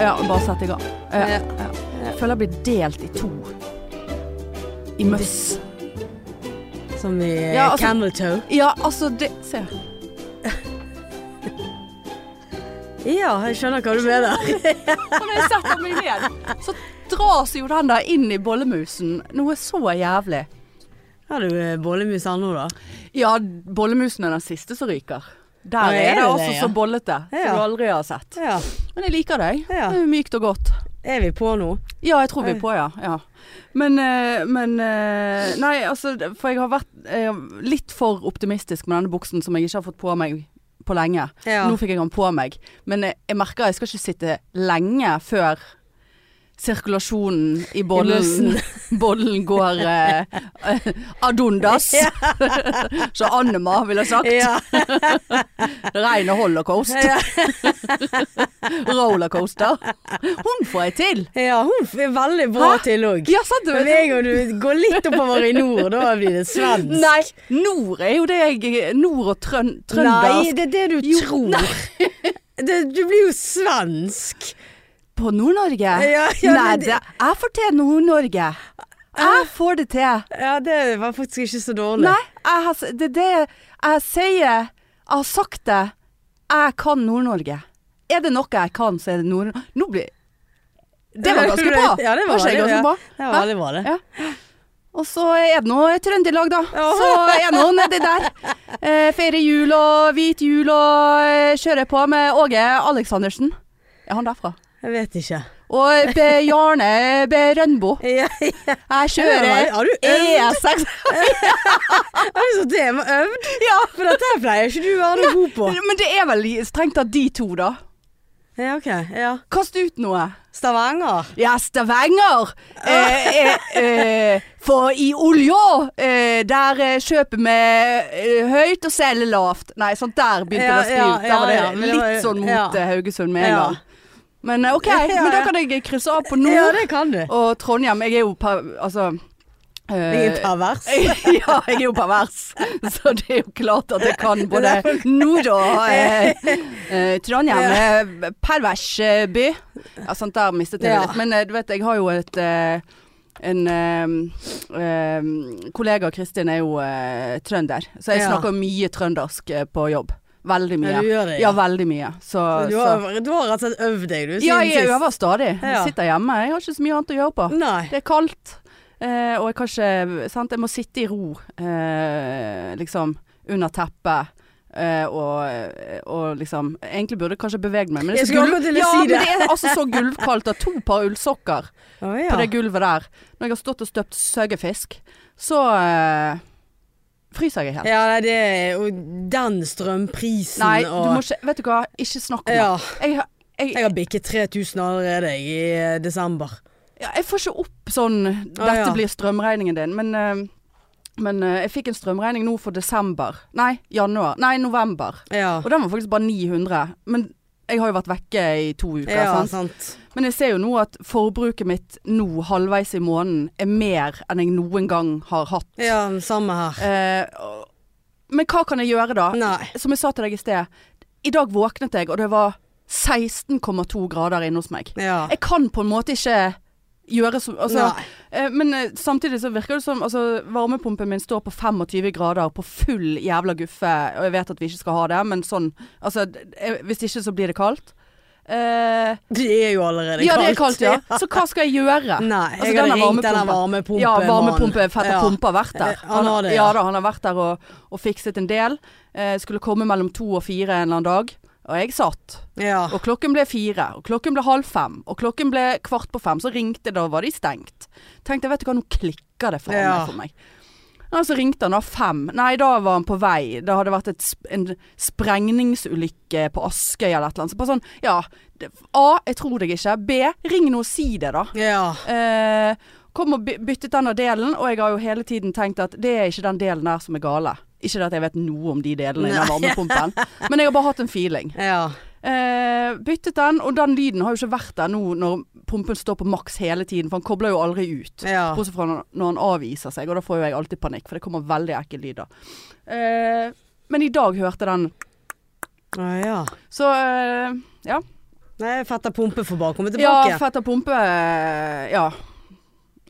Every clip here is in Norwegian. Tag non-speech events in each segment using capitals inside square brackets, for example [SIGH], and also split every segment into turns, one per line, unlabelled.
Ja, og bare sette i gang. Ja,
Ja.
ja. Jeg føler jeg blir delt i to. I møss.
Som i eh,
Ja, altså-
Camel Toe.
Ja, altså det Se.
Ja, jeg skjønner hva du mener.
Og når jeg setter meg ned, så dras jo den der inn i bollemusen. Noe så jævlig.
[LAUGHS] Har du eh, bollemus ennå, da?
Ja, bollemusen er den siste som ryker.
Ja,
Der er
er
det
det
altså
det, ja?
så bollete som
Ja.
du aldri har sett.
Ja.
Men jeg liker deg.
Ja.
Det er mykt og godt.
Er vi på nå?
Ja, jeg tror vi er på, ja. ja. Men, eh, men eh, Nei, altså, for jeg har vært eh, litt for optimistisk med denne buksen som jeg ikke har fått på meg på lenge.
Ja.
Nå fikk jeg den på meg, men jeg, jeg merker jeg skal ikke sitte lenge før sirkulasjonen i bollen, [LAUGHS] bollen går eh, eh, adundas. [LAUGHS] Så Annema ville sagt.
Ja.
Det regner holocaust. [LAUGHS]
Ja.
Rollercoaster. Hun får jeg til.
ja, hun f- er veldig bra
Hæ?
til òg.
Ja, sant?
Men med en gang du går litt oppover i nord, da blir det svensk.
Nei, nord er jo det jeg Nord og trøn,
Nei,
trøndersk
det er det du
Jo,
tror. [LAUGHS] Det, du blir jo svensk.
på Nord-Norge.
Ja,
Nei,
ja, men det-
det, jeg får til Nord-Norge. Jeg får det til.
Ja, det var faktisk ikke så dårlig.
Nei, jeg har, s- det er det jeg sier. Jeg har sagt det. Jeg kan Nord-Norge. Er det noe jeg kan, så er det Nord... Nå blir Det var ganske bra.
Ja, det var,
ikke jeg
veldig
ganske bra?
bra. Det var
Hæ?
veldig bra, det.
Ja. Og så er det nå Trøndelag, da. Så er nå nedi der. Eh, feirer jul og hvit jul og eh, kjører på med Åge Aleksandersen. Er han derfra?
Jeg vet ikke. [LAUGHS]
Og B Jarne B Rønbo.
Ja,
Jeg
Har-
kjører
har du øvd?
E6.
Har du satt det med øvd?
Ja.
For dette her pleier ikke du å være noe god på.
[LAUGHS] Men det er vel strengt tatt de to, da.
Ja, ok. Ja.
Kast ut noe.
Stavanger.
Ja, Stavanger. Eh, eh, eh, for i olja, eh, der eh, kjøper vi eh, høyt og selger lavt. Nei, sånn der begynte det
Ja,
å skli
ja,
ut. Der
ja,
var det
ja, men det
litt
var-
sånn mot
ja.
eh, Haugesund med en
Ja.
gang. Men eh, OK,
Ja,
men da
ja.
kan jeg krysse av på nord.
Ja, det kan du.
Og Trondheim, jeg er jo per, altså eh,
Jeg er pervers.
[LAUGHS] ja, jeg er jo pervers, så det er jo klart at jeg kan både nord og eh, eh, Trondheim. Eh, pervers eh, by. Ja, sant, der mistet jeg det
Ja.
litt. Men eh, du vet, jeg har jo et eh, en eh, eh, kollega Kristin er jo eh, trønder, så jeg
Ja.
snakker mye trøndersk eh, på jobb. Veldig mye.
Ja, du gjør det, ja.
ja. veldig mye. Så,
Du
så.
har, du har rett og slett øvd deg, du, siden
Ja, jeg
sist.
øver stadig.
Ja.
Jeg sitter hjemme. Jeg har ikke så mye annet å gjøre på.
Nei.
Det er kaldt, eh, og jeg kan ikke sant? Jeg må sitte i ro, eh, liksom, under teppet. eh, og, og liksom Egentlig burde jeg kanskje bevege meg, men det er,
Jeg
så gulv-
skulle akkurat til å
ja,
si
men
det.
det er altså så gulvkaldt. Og to par ullsokker
Å,
på
ja.
det gulvet der. Når jeg har stått og støpt søgefisk, så eh, fryser jeg helt.
Ja, nei, det er jo den strømprisen
Nei, du
og
må ikke Vet du hva, ikke snakk om
Ja.
det. Jeg, jeg,
Jeg har bikket 3000 allerede jeg, i eh, desember.
Ja, jeg får ikke opp sånn Dette
Å, ja.
blir strømregningen din, men eh, men eh, jeg fikk en strømregning nå for desember. Nei, januar. Nei, november.
Ja.
Og den var faktisk bare 900. Men jeg har jo vært vekke i to uker.
Ja,
sant?
sant.
Men jeg ser jo nå at forbruket mitt nå, halvveis i måneden, er mer enn jeg noen gang har hatt.
Ja, samme her.
Eh, og- men hva kan jeg gjøre da?
Nei.
Som jeg sa til deg i sted. I dag våknet jeg, og det var 16,2 grader inne hos meg.
Ja.
Jeg kan på en måte ikke gjøre så altså,
Nei.
eh, Men eh, samtidig så virker det som altså, Varmepumpen min står på 25 grader på full jævla guffe, og jeg vet at vi ikke skal ha det, men sånn altså, d- eh, Hvis ikke så blir det kaldt. Eh,
Det er jo allerede
ja,
kaldt.
det er kaldt, ja. Så hva skal jeg gjøre?
[LAUGHS] Nei,
Altså,
jeg
denne
hadde ringt denne
varmepumpen-
varmepumpen.
Ja, varmepumpefetter
Ja.
Pumpe har vært der.
Eh, han har det,
ja.
ja.
da, han har vært der og, og fikset en del. Eh, skulle komme mellom to og fire en eller annen dag. Og jeg satt.
Ja.
Og klokken ble fire, og klokken ble halv fem, og klokken ble kvart på fem. Så ringte, da var de stengt. Tenkte, vet du hva, nå klikker det faen meg
Ja.
for meg. Ja, så ringte han da fem. Nei, da var han på vei. Det hadde vært et, sp- en sprengningsulykke på Askøy eller et eller annet. Så bare sånn, ja. det- A. Jeg tror deg ikke. B. Ring nå og si det, da.
ja.
Eh, kom og by byttet denne delen, og jeg har jo hele tiden tenkt at det er ikke den delen der som er gale. Ikke det at jeg vet noe om de delene i den varmepumpen, men jeg har bare hatt en feeling.
Ja.
Eh, byttet den, og den lyden har jo ikke vært der nå når pumpen står på maks hele tiden, for han kobler jo aldri ut.
Ja.
Bortsett fra når når han avviser seg, og da får jo jeg alltid panikk, for det kommer veldig ekkel lyd da. Eh, men i dag hørte den,
Å, ja.
så eh, ja.
Nei, fetter Pumpe får bare komme tilbake.
Ja, fetter pumpe eh, Ja.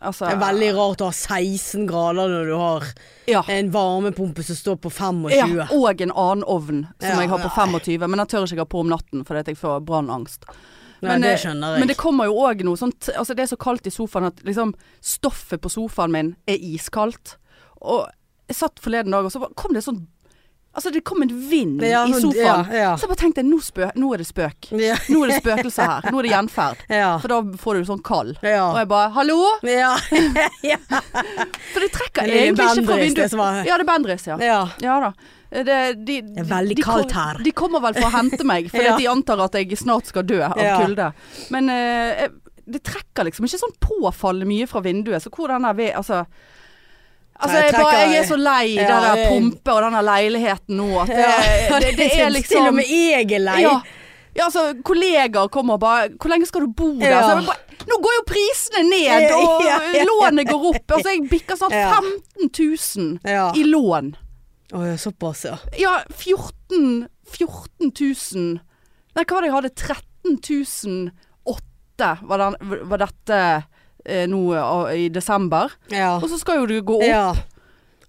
Altså
det er veldig rart å ha 16 grader når du har
Ja.
en varmepumpe som står på 25.
ja. Og en annen ovn som
Ja.
jeg har på 25, men den tør ikke jeg ha på om natten fordi at jeg får brannangst.
Nei,
Men,
det
eh,
skjønner jeg.
Men det kommer jo òg noe sånt Altså det er så kaldt i sofaen at liksom stoffet på sofaen min er iskaldt. Og jeg satt forleden dag og så bare kom det sånn Altså det kom en vind
Ja,
i
sånn-
sofaen.
ja, ja.
Så jeg bare tenkte nå, spø nå er det spøk.
ja.
Nå er det spøkelse her. Nå er det gjenferd.
Ja.
For da får du sånn kald. Og
Ja.
jeg bare hallo?
Ja.
For det trekker
Det er
egentlig ikke fra
Bendriss, det
vinduet.
som var-
Ja, det er Bendriss, ja.
ja.
Ja da. Eh, Det, de,
er veldig
de,
kaldt
kom-
her.
De kommer vel for å hente meg,
[LAUGHS]
fordi
Ja.
at de antar at jeg snart skal dø av
Ja.
kulde. Men eh, jeg- det trekker liksom ikke sånn påfallende mye fra vinduet, så hvor den der ved Altså, altså
Nei,
jeg, bare,
trekker-
jeg er så lei
Ja,
den der
det-
pumpe og den der leiligheten nå
[LAUGHS]
at det, det, det er liksom
Til og med jeg er lei.
ja. ja, altså kollegaer kommer og bare 'Hvor lenge skal du bo der?'
Ja.
Så jeg bare, Nå går jo prisene ned, og
[LAUGHS] Ja, ja, ja.
lånet går opp. Altså jeg bikker snart
Ja.
15 000
Ja.
i lån.
Å ja, såpass, ja.
Ja, 14 14 000 Nei, hva var det jeg hadde? 13 008 var, den, var dette eh, nå eh, i desember.
Ja.
Og så skal jo du gå opp.
ja.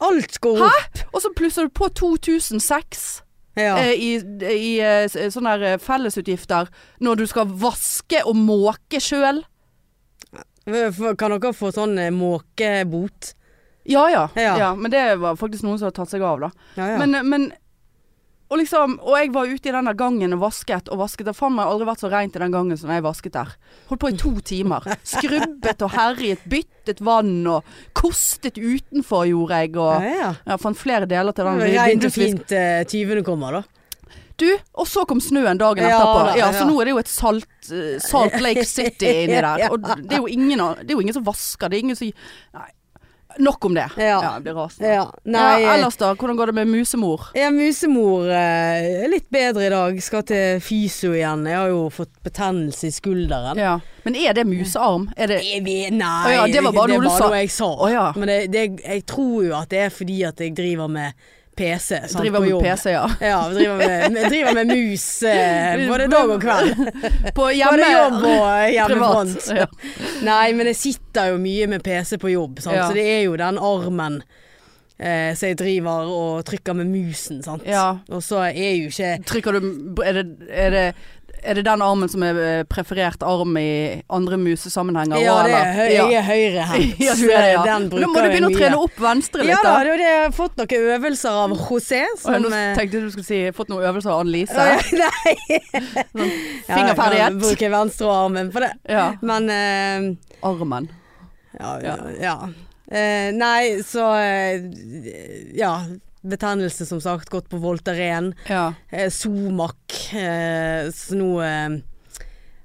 Alt går
Hæ?
opp.
Og så plusser du på 2006
Ja.
eh, i, i eh, s- sånne her, eh, fellesutgifter når du skal vaske og måke sjøl.
Kan dere få sånn eh, måkebot?
Ja, ja
Ja.
ja. Men det var faktisk noen som hadde tatt seg av, da.
Ja, ja.
Men, eh, men og, liksom, og jeg var ute i den der gangen og vasket og vasket. Det har faen meg aldri vært så rent i den gangen som da jeg vasket der. Holdt på i to timer. Skrubbet og herjet, byttet vann og kostet utenfor gjorde jeg. Og
ja, ja.
jeg fant flere deler til den.
Rent og
vindusvis-
fint eh, tyvene kommer, da.
Du, og så kom snøen dagen
Ja,
etterpå.
da,
Ja, så
ja.
nå er det jo et salt, eh, Salt Lake City
[LAUGHS]
inni der.
Ja.
Og det er jo ingen, av- det er jo ingen som vasker. Det er ingen som Nei. Nok om det.
Ja.
jeg blir rasende.
Ja.
Ja,
Nei, eh,
ellers da? Hvordan går det med musemor?
Ja, musemor eh, er litt bedre i dag. Skal til fysio igjen. Jeg har jo fått betennelse i skulderen.
Ja. Men er det musearm? Er det
Er vi- Nei,
Å ja, det var bare noe du sa.
jeg sa.
Å ja.
Men det, det, jeg tror jo at det er fordi at jeg driver med PC. Sant,
Driver
Sånn, på
med
jobb.
PC,
[LAUGHS]
ja.
Ja, jeg driver med, jeg driver med mus
[LAUGHS]
eh, både dag og kveld.
På hjemme
Både jobb og hjemmefront.
[LAUGHS] privat. Ja.
[LAUGHS] Nei, men jeg sitter jo mye med PC på jobb, sant?
Ja.
så det er jo den armen eh, som jeg driver og trykker med musen, sant.
Ja.
Og så er jo ikke
Trykker du Er det, er det er det den armen som er eh, preferert arm i andre musesammenhenger?
[LAUGHS] Ja,
også,
det er,
eller?
høy,
Ja.
jeg er
[LAUGHS]
høyrehendt.
Ja, du er det, ja.
Den bruker
Nå må du begynne å
jeg mye.
trene opp venstre litt,
Ja
da.
da, det er jo det. jeg har fått noen øvelser av José.
Å, ja,
Som,
nå
eh,
tenkte jeg du skulle si fått noen øvelser av Annelise.
Å, ja, nei.
[LAUGHS]
Ja,
Fingerferdighet.
jeg Bruker venstrearmen på det.
[LAUGHS] Ja.
Men eh,
Armen.
ja, ja.
Ja.
Eh, nei, så eh, Ja. Betennelse, som sagt. Gått på Voltaren.
Ja.
Eh, Somak. Eh, så nå eh,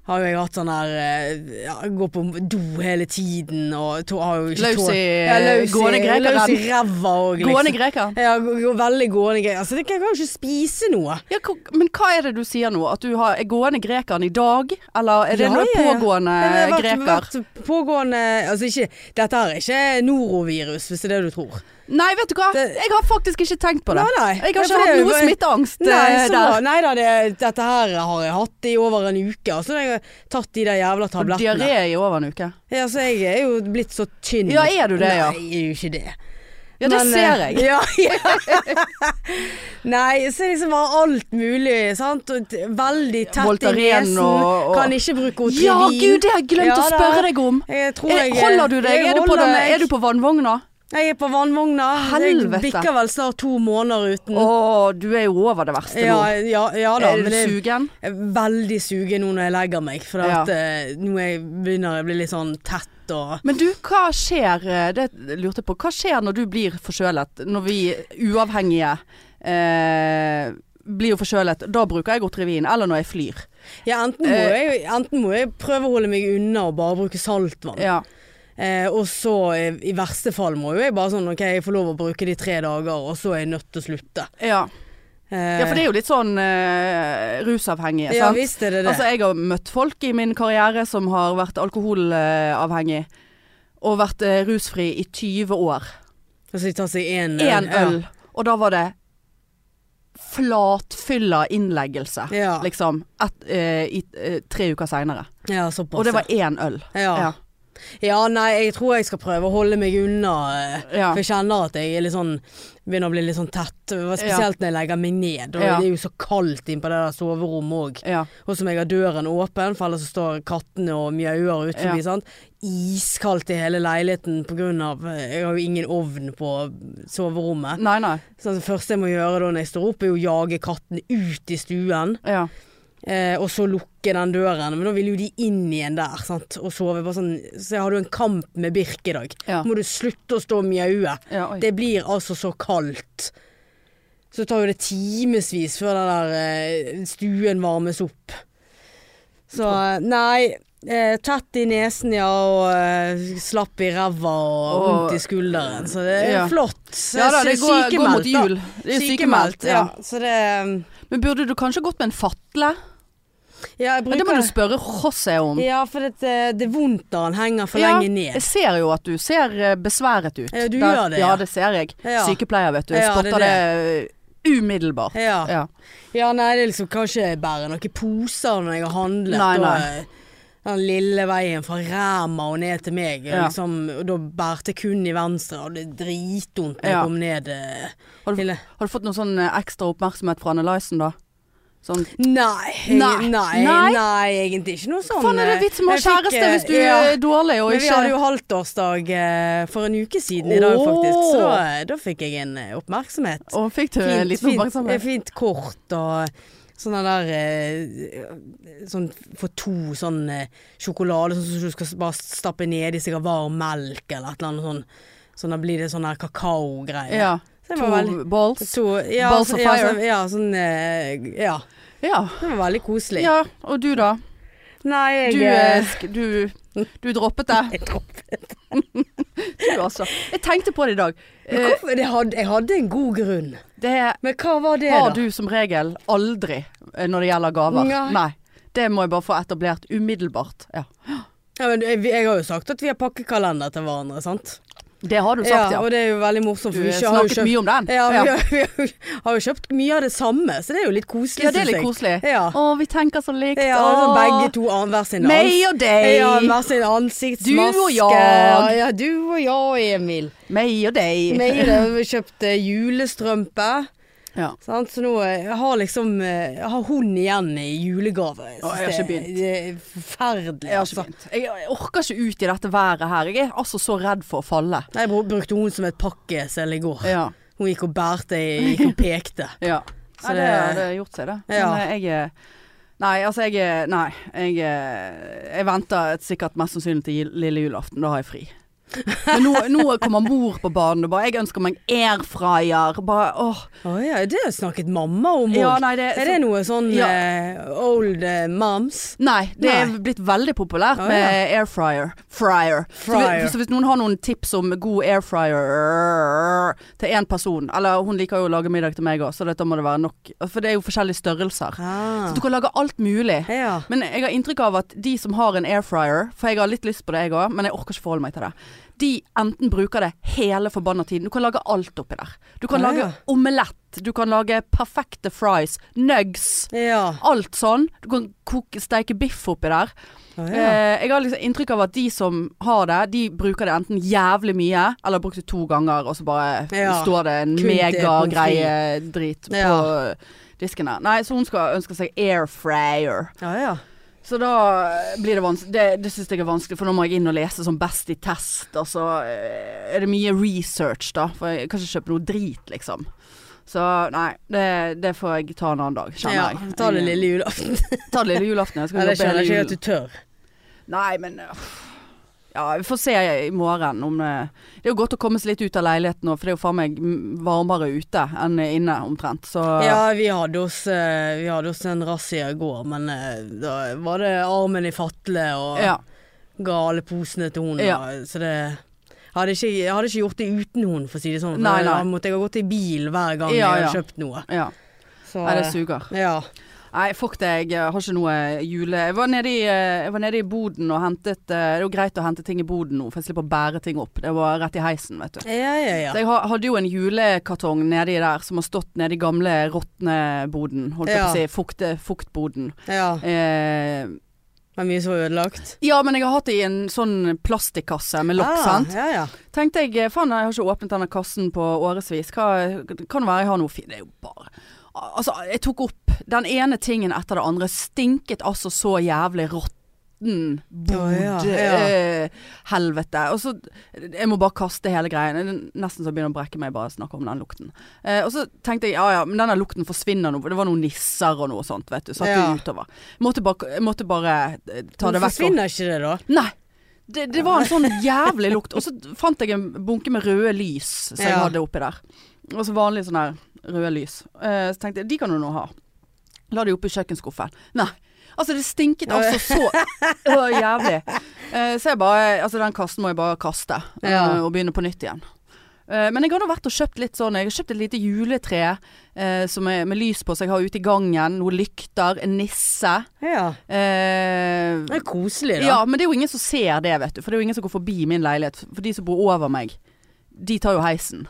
har jo jeg hatt sånn her eh, ja, Går på do hele tiden og to, har jo ikke
Løs
tå-
i eh,
Ja, løs i-
gående
Løs i
grekeren.
ræva òg,
Gående
liksom.
greker.
Ja, gå- gå- veldig gående greier. Altså, det kan jeg kan jo ikke spise noe.
Ja, hva- men hva er det du sier nå? At du har, er gående grekeren i dag? Eller er det
Ja,
noe
ja, ja.
pågående
Jeg har vært-
greker?
vært Pågående Altså ikke Dette her er ikke norovirus, hvis det er det du tror.
Nei, vet du hva?
Det-
Jeg har faktisk ikke tenkt på det.
Nei, nei.
Jeg
Ja,
har
for
ikke hatt
det er jo
noe
bare-
smitteangst eh,
Nei, så,
der.
nei da, det, dette her har jeg hatt i over en uke. Altså, jeg har tatt de der jævla
Og
tablettene.
Diaré i over en uke.
Ja, så jeg er jo blitt så tynn.
Ja, er du det, ja?
Nei, jeg er jo ikke det.
Ja, det
Men,
ser
eh,
jeg.
Ja, ja. [LAUGHS] Nei, så liksom var alt mulig, sant. Og t- Veldig tett i
Voltaren
nesen.
og- og-
Kan ikke bruke Otrivin.
Ja, gud, det har jeg glemt
Ja,
å
da.
spørre deg om.
Jeg tror
Er,
jeg eh,
holder du deg?
jeg
Er du, på
holder
den,
meg.
er du på vannvogna?
Jeg er på vannvogna.
Helvete.
Jeg bikker vel snart to måneder uten.
Å, du er jo over det verste
Mm. ja,
nå.
ja, ja da,
er
men
du
det
sugen?
jeg er veldig sugen nå når jeg legger meg. For
Ja.
at, eh, nå er jeg begynner jeg å bli litt sånn tett og
Men du, hva skjer eh, Det lurte jeg på. Hva skjer når du blir forkjølet? Når vi uavhengige eh, blir jo forkjølet. Da bruker jeg Otrivin. Eller når jeg flyr.
ja, enten, må
Eh,
jeg, enten må jeg prøve å holde meg unna og bare bruke saltvann.
Ja.
Eh, og så eh, i verste fall må jo jeg bare sånn OK, jeg får lov å bruke det i tre dager, og så er jeg nødt til å slutte.
ja.
Eh,
Ja, for det er jo litt sånn eh, rusavhengige,
ja,
sant?
visst er det det.
Altså, jeg har møtt folk i min karriere som har vært alkoholavhengig. Og vært eh, rusfri i 20 år.
Og så de tar seg én
Én øl, og da var det flatfylla innleggelse,
Ja.
liksom, et, eh, i, eh, tre uker seinere.
Ja, såpass.
Og det
ja.
var én øl.
Ja.
Ja.
Ja, nei, jeg tror jeg skal prøve å holde meg unna. eh,
Ja.
For jeg kjenner at jeg er litt sånn Begynner å bli litt sånn tett. eh, Spesielt når jeg legger meg ned. Og
Ja.
det er jo så kaldt inn på det der soverommet òg.
ja.
Og så må Sånn jeg ha døren åpen, for ellers så står kattene og mjauer ute forbi.
Ja.
sant? Iskaldt i hele leiligheten på grunn av eh, Jeg har jo ingen ovn på soverommet.
Nei, nei.
Så det første jeg må gjøre da når jeg står opp, er jo å jage katten ut i stuen.
Ja.
Eh, og så lukke den døren. Men da vil jo de inn igjen der sant? og sove. Bare sånn. Så jeg hadde jo en kamp med Birk i dag.
Ja.
Må du slutte å stå og mjaue?
Ja, oi.
Det blir altså så kaldt. Så det tar jo det timevis før den der eh, stuen varmes opp. Så eh, nei. Eh, tett i nesen, ja, og eh, slapp i ræva og
Og-
vondt i skulderen. Så det er
Ja.
flott. Eh,
ja da, det går, går mot
da.
jul. Det er
Sykemeldt, ja. Så det eh,
Men burde du kanskje gått med en fatle?
Ja,
Men
jeg bruker
det må du spørre José om.
Ja, for det, eh, det er vondt når han henger for
Ja,
lenge ned.
Jeg ser jo at du ser eh, besværet ut.
Ja, du
Da-
gjør det,
Ja,
ja.
det ser jeg.
Ja.
Sykepleier, vet du. Jeg
Ja, det er
spotter det, eh, umiddelbart.
Ja.
Ja.
ja, nei, det er liksom kanskje bære noen poser når jeg har handlet.
Nei, nei.
og, eh, den lille veien fra Ræma og ned til meg. og
Ja.
Liksom, og da bærte jeg kun i venstre, og det er dritvondt når
Ja.
jeg kom ned. eh,
Har, du,
Lille.
har du fått noe sånn eh, ekstra oppmerksomhet fra Anne Lysen, da? Sånn
Nei, jeg,
Nei.
nei, nei,
Nei?
egentlig ikke noe sånn.
Faen, er det
eh,
vits med å ha
jeg fikk,
kjæreste
eh,
hvis du
ja.
er dårlig og
Men vi
ikke
hadde jo halvtårsdag eh, for en uke siden i dag,
Åh.
faktisk. Så da, da fikk jeg en eh, oppmerksomhet.
Og fikk du en liten
eh,
oppmerksomhet?
fint kort og sånne der eh, Sånn for to sånn eh, sjokolade sånn som du skal s- bare stappe nedi sikkert varm melk eller et eller annet sånn. Så da blir det sånn der kakaogreier.
Ja.
Så det
To
var veldig
balls?
to, ja,
Balls
så-
of
ja,
fire.
så- Ja, sånn eh, Ja.
Ja.
Det var veldig koselig.
ja. Og du, da?
Nei, jeg
Du, eh,
eh,
sk- du, du droppet det.
[LAUGHS] jeg droppet.
Du, altså. Jeg tenkte på det i dag.
Men
Eh,
hvorfor- det hadde, jeg hadde en god grunn.
Det
Men hva var det,
har
da?
du som regel aldri eh, når det gjelder gaver.
Nei.
Det må jeg bare få etablert umiddelbart. Ja.
Ja, men jeg, jeg har jo sagt at vi har pakkekalender til hverandre, sant?
Det har du sagt,
ja.
ja.
Og det er jo veldig morsomt,
Du
for vi
har
ikke har jo
snakket
kjøpt
mye om den.
Ja, vi,
ja.
Har, vi har, jo- har jo kjøpt mye av det samme, så det er jo litt koselig.
Ja, det er
synes
litt
jeg.
koselig.
Ja.
Å, vi tenker så likt.
ja
Å.
altså begge to an, hver sin
Meg
ans-
og deg.
Ja, hver sin ansiktsmaske.
Du og jeg.
Ja, du og jeg, Emil.
Meg og deg.
Meg og deg vi kjøpte eh, julestrømpe.
Ja.
Sant? Så nå eh, jeg har liksom eh, Jeg har hun igjen i julegave. Jeg
Å, jeg har
synes
ikke
det-
begynt.
Det er forferdelig.
Jeg, har
altså.
ikke begynt. jeg jeg orker ikke ut i dette været her. Jeg er altså så redd for å falle.
Nei, Jeg br- brukte hun som et pakkesel i går.
Ja.
Hun gikk og bærte, jeg gikk og
[LAUGHS]
pekte.
ja.
Så
Nei, det
det-
har det gjort seg, det.
Ja.
Men eh, jeg eh, Nei, altså jeg eh, Nei. Jeg, eh, jeg venter et- sikkert mest sannsynlig til jul- lille julaften. Da har jeg fri. Men nå, nå kommer mor på banen og bare 'Jeg ønsker meg airfryer'. Bare åh.
Å ja, det har snakket mamma om òg.
Ja, nei, det,
Er det noe sånn
Ja.
eh, old eh, moms?
Nei, det er
Nei.
blitt veldig populært
Å,
med
ja.
air fryer. Fryer. Så,
Fryer.
hvis, så hvis noen har noen tips om god air fryer til én person Eller hun liker jo å lage middag til meg òg, så dette må det være nok. For det er jo forskjellige størrelser. Så du kan lage alt mulig.
Ja.
Men jeg har inntrykk av at de som har en air fryer, for jeg har litt lyst på det jeg òg, men jeg orker ikke forholde meg til det. De enten bruker det hele forbanna tiden. Du kan lage alt oppi der. Du kan
Ja,
lage
ja.
omelett. Du kan lage perfekte fries. Nugs.
Ja.
Alt sånn. Du kan koke, steike biff oppi der.
Å, ja.
Eh, jeg har liksom inntrykk av at de som har det, de bruker det enten jævlig mye, eller har brukt det to ganger, og så bare
Ja.
står det en
Kun til pommes
megagreie drit på
Ja.
disken her. Nei, så hun skal ønske seg air fryer.
ja, ja.
Så da eh, blir det vanskelig. Det, det syns jeg er vanskelig, for nå må jeg inn og lese som best i test, og så eh, er det mye research, da. For jeg kan ikke kjøpe noe drit, liksom. Så nei, det, det får jeg ta en annen dag, kjenner
ja.
jeg.
Ta det
Jeg-
lille julaften.
Ta det lille julaften. Jeg skal
Ja, det
jobbe
skjønner
hele
jeg ikke
julen.
at du tør.
Nei, men uff. Ja, vi får se i morgen om det Det er jo godt å komme seg litt ut av leiligheten nå, for det er jo faen meg mm, varmere ute enn inne omtrent. Så
Ja, vi hadde oss, eh, vi hadde oss en razzia i går, men eh, da var det armen i fatle og
ja.
ga alle posene til hun.
Ja.
og- Så det jeg hadde, ikke, jeg hadde ikke gjort det uten hun, for å si det sånn. for
Nei, nei.
Da måtte jeg ha gått i bil hver gang
Ja,
jeg
ja.
hadde kjøpt noe.
ja.
Så,
Nei, det suger.
ja.
Nei, fuck det, jeg har ikke noe jule... Jeg var nede i, eh, jeg var nede i boden og hentet eh, Det er jo greit å hente ting i boden nå, for jeg slipper å bære ting opp. Det var rett i heisen, vet du.
Ja, ja, ja.
Så jeg ha- hadde jo en julekartong nedi der som har stått nedi gamle råtneboden. Holdt jeg
Ja.
på å si. Fukte, fuktboden.
ja.
Eh,
Men mye som var ødelagt.
ja, men jeg har hatt det i en sånn plastikkasse med lokk,
Ah,
sant.
Ja, ja.
Tenkte jeg, eh, faen jeg har ikke åpnet denne kassen på årevis. Hva kan det være jeg har noe fint? Det er jo bare Altså, jeg tok opp den ene tingen etter det andre. Stinket altså så jævlig råtten
Ja, ja,
bod.
ja.
eh, helvete. Og så Jeg må bare kaste hele greien. Det er Nesten så jeg begynner å brekke meg bare av å snakke om den lukten. Eh, og så tenkte jeg ja ja, men denne lukten forsvinner nå. Det var noen nisser og noe sånt, vet du. Satt
Ja.
det utover. Måtte bare, jeg måtte bare eh, ta det
Men
vekk. og-
Forsvinner ikke det, da?
Nei. Det, det var en sånn jævlig lukt. Og så fant jeg en bunke med røde lys som jeg
Ja.
hadde oppi der. Og så vanlig sånn her røde lys. Eh, så tenkte jeg de kan du nå ha. La de oppi kjøkkenskuffen. Nei. Altså det stinket altså så Å, jævlig. Eh, så jeg bare Altså den kassen må jeg bare kaste. eh,
Ja.
og begynne på nytt igjen. Eh, men jeg har nå vært og kjøpt litt sånn Jeg har kjøpt et lite juletre eh, som er, med lys på som jeg har ute i gangen. Noen lykter. En nisse.
Ja.
Eh,
Det er koselig, da.
ja, men det er jo ingen som ser det, vet du. For det er jo ingen som går forbi min leilighet. For de som bor over meg, de tar jo heisen.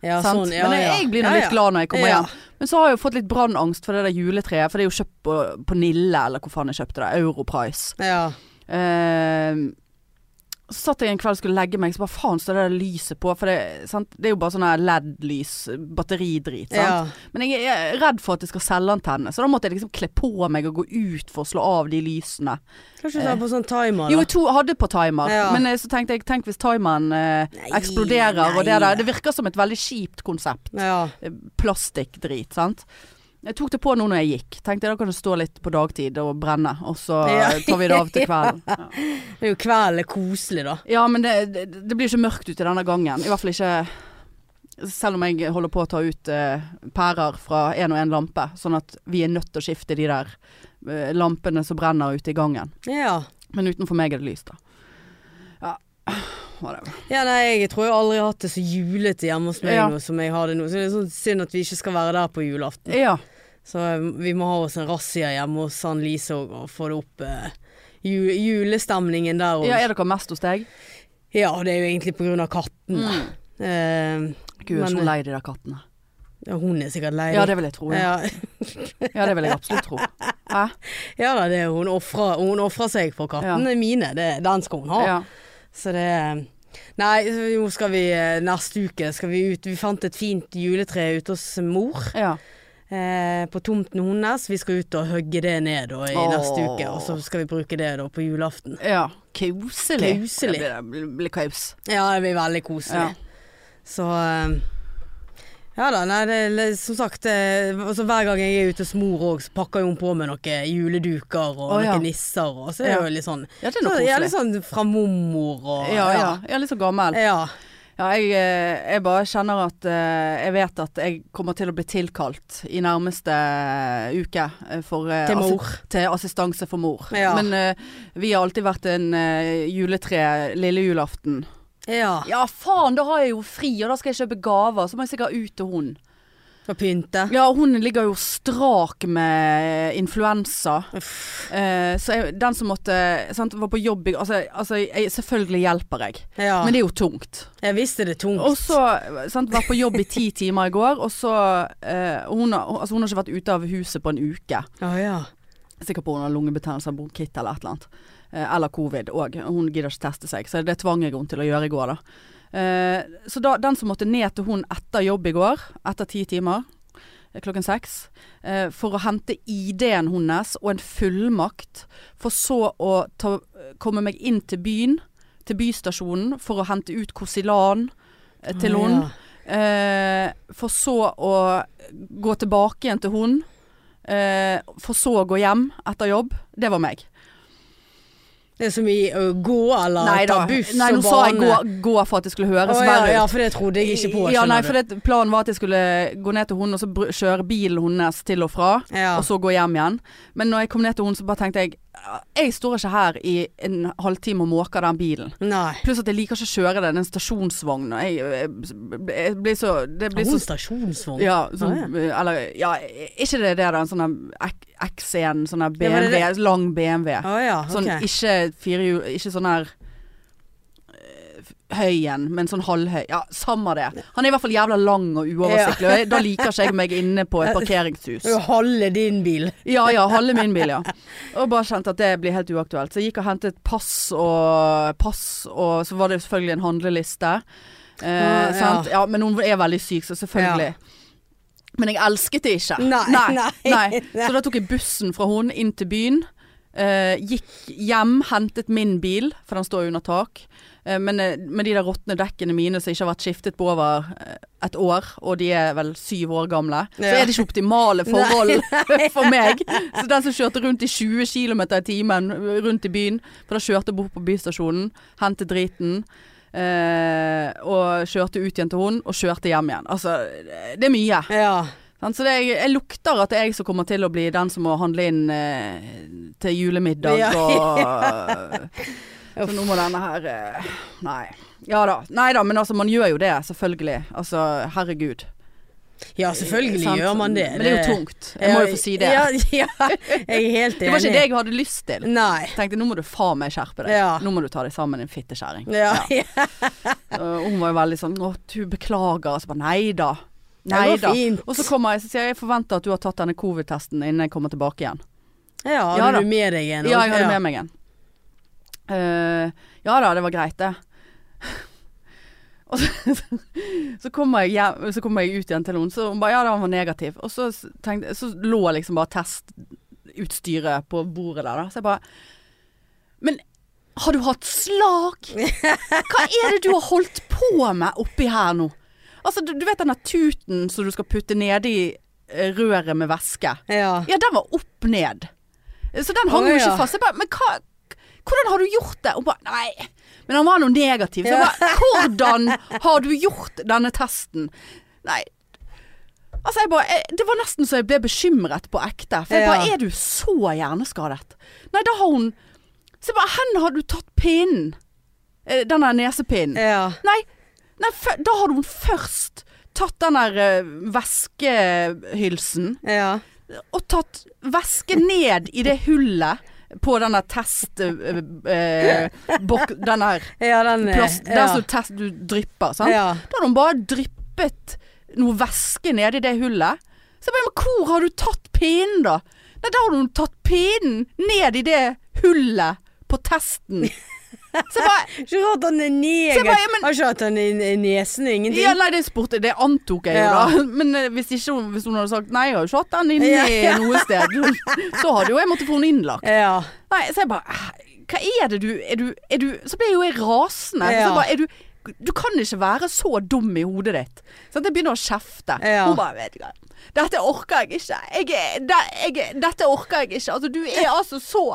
Ja,
sant?
sånn, ja,
men jeg,
ja.
jeg blir nå
Ja,
litt glad når jeg kommer
Ja.
hjem. Men så har jeg jo fått litt brannangst for det der juletreet. For det er jo kjøpt på, på Nille, eller hvor faen jeg kjøpte det. Europrice.
Ja. ja.
Eh, så satt jeg en kveld og skulle legge meg, så bare faen står det der lyset på. For det, sant? det er jo bare sånn her LED-lys, batteridrit. Sant?
Ja.
Men jeg er redd for at det skal selvantenne, så da måtte jeg liksom kle på meg og gå ut for å slå av de lysene.
Kanskje du tar på sånn timer, da.
Eh. Jo, jeg to, hadde på timer,
Ja.
men eh, så tenkte jeg Tenk hvis timeren eh,
Nei,
eksploderer og det
nei.
der. Det virker som et veldig kjipt konsept.
ja.
Eh, Plastikkdrit, sant. Jeg tok det på nå når jeg gikk. Tenkte da kan det stå litt på dagtid og brenne, og så
Ja.
eh, [LAUGHS] tar vi det av
[LAUGHS]
til kvelden. Ja,
Det er jo kvelden er koselig, da.
ja men det, det, det blir ikke mørkt ute denne gangen. I hvert fall ikke selv om jeg holder på å ta ut eh, pærer fra én og én lampe, sånn at vi er nødt til å skifte de der eh, lampene som brenner ute i gangen.
Ja.
Men utenfor meg er det lyst, da. Ja, [SIGHS] whatever.
ja, nei, jeg tror jeg aldri har hatt det så julete hjemme hos meg
Ja.
nå som jeg har det nå. Så det er sånn synd at vi ikke skal være der på julaften.
Ja.
Så eh, vi må ha oss en razzia hjemme hos han Lise og, og få det opp eh, ju julestemningen der òg.
ja,
Ja,
er dere mest hos deg?
det er jo egentlig på grunn av katten. da.
Mm.
Eh,
Gud, jeg er
Mm. Men-
så lei de der kattene.
ja, hun er sikkert lei.
Ja, det vil jeg tro. Ja,
ja.
ja det vil jeg absolutt
[LAUGHS]
tro. Hæ?
ja da, det er hun ofrer hun ofrer seg for kattene mine. Det, den skal hun ha.
Ja.
Så det Nei, nå skal vi eh, neste uke skal vi ut. Vi fant et fint juletre ute hos mor
ja.
eh, på tomten hennes. Vi skal ut og hogge det ned da, i
Åh.
neste uke, og så skal vi bruke det da på julaften.
ja. Koselig.
Koselig.
Det blir- blir- blir kaus.
Ja, det blir veldig koselig.
Ja.
Så eh, ja da, nei, det, er- som sagt eh, altså, Hver gang jeg er ute hos mor òg, så pakker jo hun på med noen juleduker og
Å, ja.
noen nisser. Og så er det
Ja.
jo litt sånn,
Ja, det er
så,
noe
ja,
koselig.
litt sånn fra mormor og
Ja, ja. Jeg er litt så gammel.
ja.
Ja, jeg, eh, jeg bare kjenner at eh, Jeg vet at jeg kommer til å bli tilkalt i nærmeste uke eh, for eh,
Til
assi-
mor.
til assistanse for mor.
Ja.
Men eh, vi har alltid vært en eh, juletre lille julaften.
ja.
Ja, faen, da har jeg jo fri, og da skal jeg kjøpe gaver. Så må jeg sikkert ut til hun.
Og pynte.
Ja, hun ligger jo strak med influensa. Eh, så jeg, den som måtte sant, var på jobb i Altså, altså jeg, selvfølgelig hjelper jeg,
Ja.
men det er jo tungt.
Jeg visste det er tungt.
Og så sant, Vært på jobb i ti timer i går, og så eh, hun, har, altså, hun har ikke vært ute av huset på en uke.
Ja, ja.
Sikkert på hun har lungebetennelse, bronkitt eller et eller annet. Eh, eller covid òg. Hun gidder ikke teste seg, så det tvang jeg henne til å gjøre i går, da. Eh, så da, den som måtte ned til hun etter jobb i går, etter ti timer, eh, klokken seks, eh, for å hente ID-en hennes og en fullmakt, for så å ta, komme meg inn til byen, til bystasjonen, for å hente ut Kosilan eh, til
Å,
hun. Eh, for så å gå tilbake igjen til hun. Eh, for så å gå hjem etter jobb. Det var meg.
Ja. Det er som i å gå eller ta buss
Nei, nå
og
sa jeg gå,
bane.
gå for at det skulle høres
Å, ja,
verre ut.
ja, for det trodde jeg ikke på.
ja,
skjønner
nei,
du.
for det, planen var at jeg skulle gå ned til hun og så br- kjøre bilen hennes til og fra.
ja.
Og så gå hjem igjen. Men når jeg kom ned til hun så bare tenkte jeg Jeg står ikke her i en halvtime og måker den bilen.
Nei.
Pluss at jeg liker ikke å kjøre den, en stasjonsvogn. og Jeg, jeg, jeg blir så Det
Har
blir
hun
så
stasjonsvogn?
ja, sånn, eller ja, ikke det der, da. En sånn der X- X1, sånn der
Ja, var det
BMW, lang BMW.
Å ja, ok.
Sånn ikke firehjul, ikke sånn her eh, høy en, men sånn halvhøy. Ja, samme det. Han er i hvert fall jævla lang og uoversiktlig, og jeg- da liker ikke jeg meg inne på
[LAUGHS]
et
Det er
parkeringshus.
jo halve din bil.
Ja ja, halve min bil, ja. Og bare kjente at det blir helt uaktuelt. Så jeg gikk og hentet pass og pass, og så var det selvfølgelig en handleliste. Eh,
Ah, ja.
sant? Ja, men hun er veldig syk, så selvfølgelig. Men jeg elsket det ikke.
Nei,
nei,
nei,
nei. Så da tok jeg bussen fra hun inn til byen. eh, gikk hjem, hentet min bil, for den står jo under tak. Eh, men eh, med de der råtne dekkene mine som ikke har vært skiftet på over eh, et år, og de er vel syv år gamle, så
Ja.
er det ikke optimale forhold
[LAUGHS]
[LAUGHS] for meg. Så den som kjørte rundt i 20 km i timen eh, rundt i byen, for da kjørte jeg bort på bystasjonen, hentet driten. eh, og kjørte ut igjen til hun, og kjørte hjem igjen. Altså, det er mye.
Ja.
Sant, Så det, jeg, jeg lukter at det er jeg som kommer til å bli den som må handle inn eh, til julemiddag
Ja. [LAUGHS]
og Så nå må denne her eh, Nei. Ja da. Nei da, men altså, man gjør jo det, selvfølgelig. Altså, herregud.
ja, selvfølgelig
Sant?
gjør man det.
Men det er jo tungt. Jeg må jo få si det.
Ja, [LAUGHS] ja. jeg er helt enig.
Det var ikke det jeg hadde lyst til.
Nei.
Jeg tenkte nå må du faen meg skjerpe deg.
Ja.
Nå må du ta deg sammen, din fittekjerring.
Ja. ja.
Eh, Og hun var jo veldig sånn Å, du beklager. Og så bare nei da.
Det
Nei
går
da.
fint.
Og så kommer jeg og sier jeg, jeg forventer at du har tatt denne covid-testen innen jeg kommer tilbake igjen.
Ja, hadde
Ja da.
du med deg en?
Ja, jeg hadde med meg en. Eh, ja da, det var greit, det. [LAUGHS] Og så, så, kommer jeg hjem, så kommer jeg ut igjen til henne, så hun bare ja, da, han var negativ. Og så, s- tenkte, så lå liksom bare testutstyret på bordet der, da. Så jeg bare Men har du hatt slag? Hva er det du har holdt på med oppi her nå? Altså, du, du vet den der tuten som du skal putte nedi eh, røret med væske?
Ja.
Ja, den var opp ned. Så den hang
Å,
jo ikke
ja.
fast. Jeg bare, men hva Hvordan har du gjort det? Og bare Nei. Men han var noe negativ. Så jeg bare Hvordan har du gjort denne testen? Nei. Altså jeg bare, jeg, det var nesten så jeg ble bekymret på ekte. For jeg
Ja.
bare Er du så hjerneskadet? Nei, da har hun Så jeg bare Hen har du tatt pinnen? Eh, Den der nesepinnen?
Ja.
Nei, nei fø- da har hun først tatt den der eh, væskehylsen
ja.
og tatt væske ned i det hullet på denne test... Øh, øh, bok, den her
Ja, den eh,
plast...
ja.
Der som test, du drypper, sant?
Ja.
Da hadde hun bare dryppet noe væske ned i det hullet. Så jeg bare, men hvor har du tatt pinnen da? Nei, da har hun tatt pinnen ned i det hullet på testen. Så jeg
[LAUGHS]
bare,
Ikke rart han er
Så jeg
neger.
bare, ja, men-
Har ikke hatt han i i nesen og ingenting.
ja nei, det spurte Det antok jeg jo
Ja.
da. [LAUGHS] Men eh, hvis, ikke, hun- hvis hun hadde sagt nei, jeg har jo ikke hatt den inne
Ja,
i
ja.
noe sted, [LAUGHS] så hadde jo jeg måtte få den innlagt.
Ja.
Nei, så jeg bare "Æ, Hva er det du Er du, er du Så ble jo jeg rasende. Så
Ja.
jeg bare er du, du kan ikke være så dum i hodet ditt. Sånn at jeg begynner å kjefte.
Ja.
Hun bare Vet du hva. Dette orker jeg ikke. Jeg, er- de- jeg, er- dette orker jeg ikke. Altså, du er altså så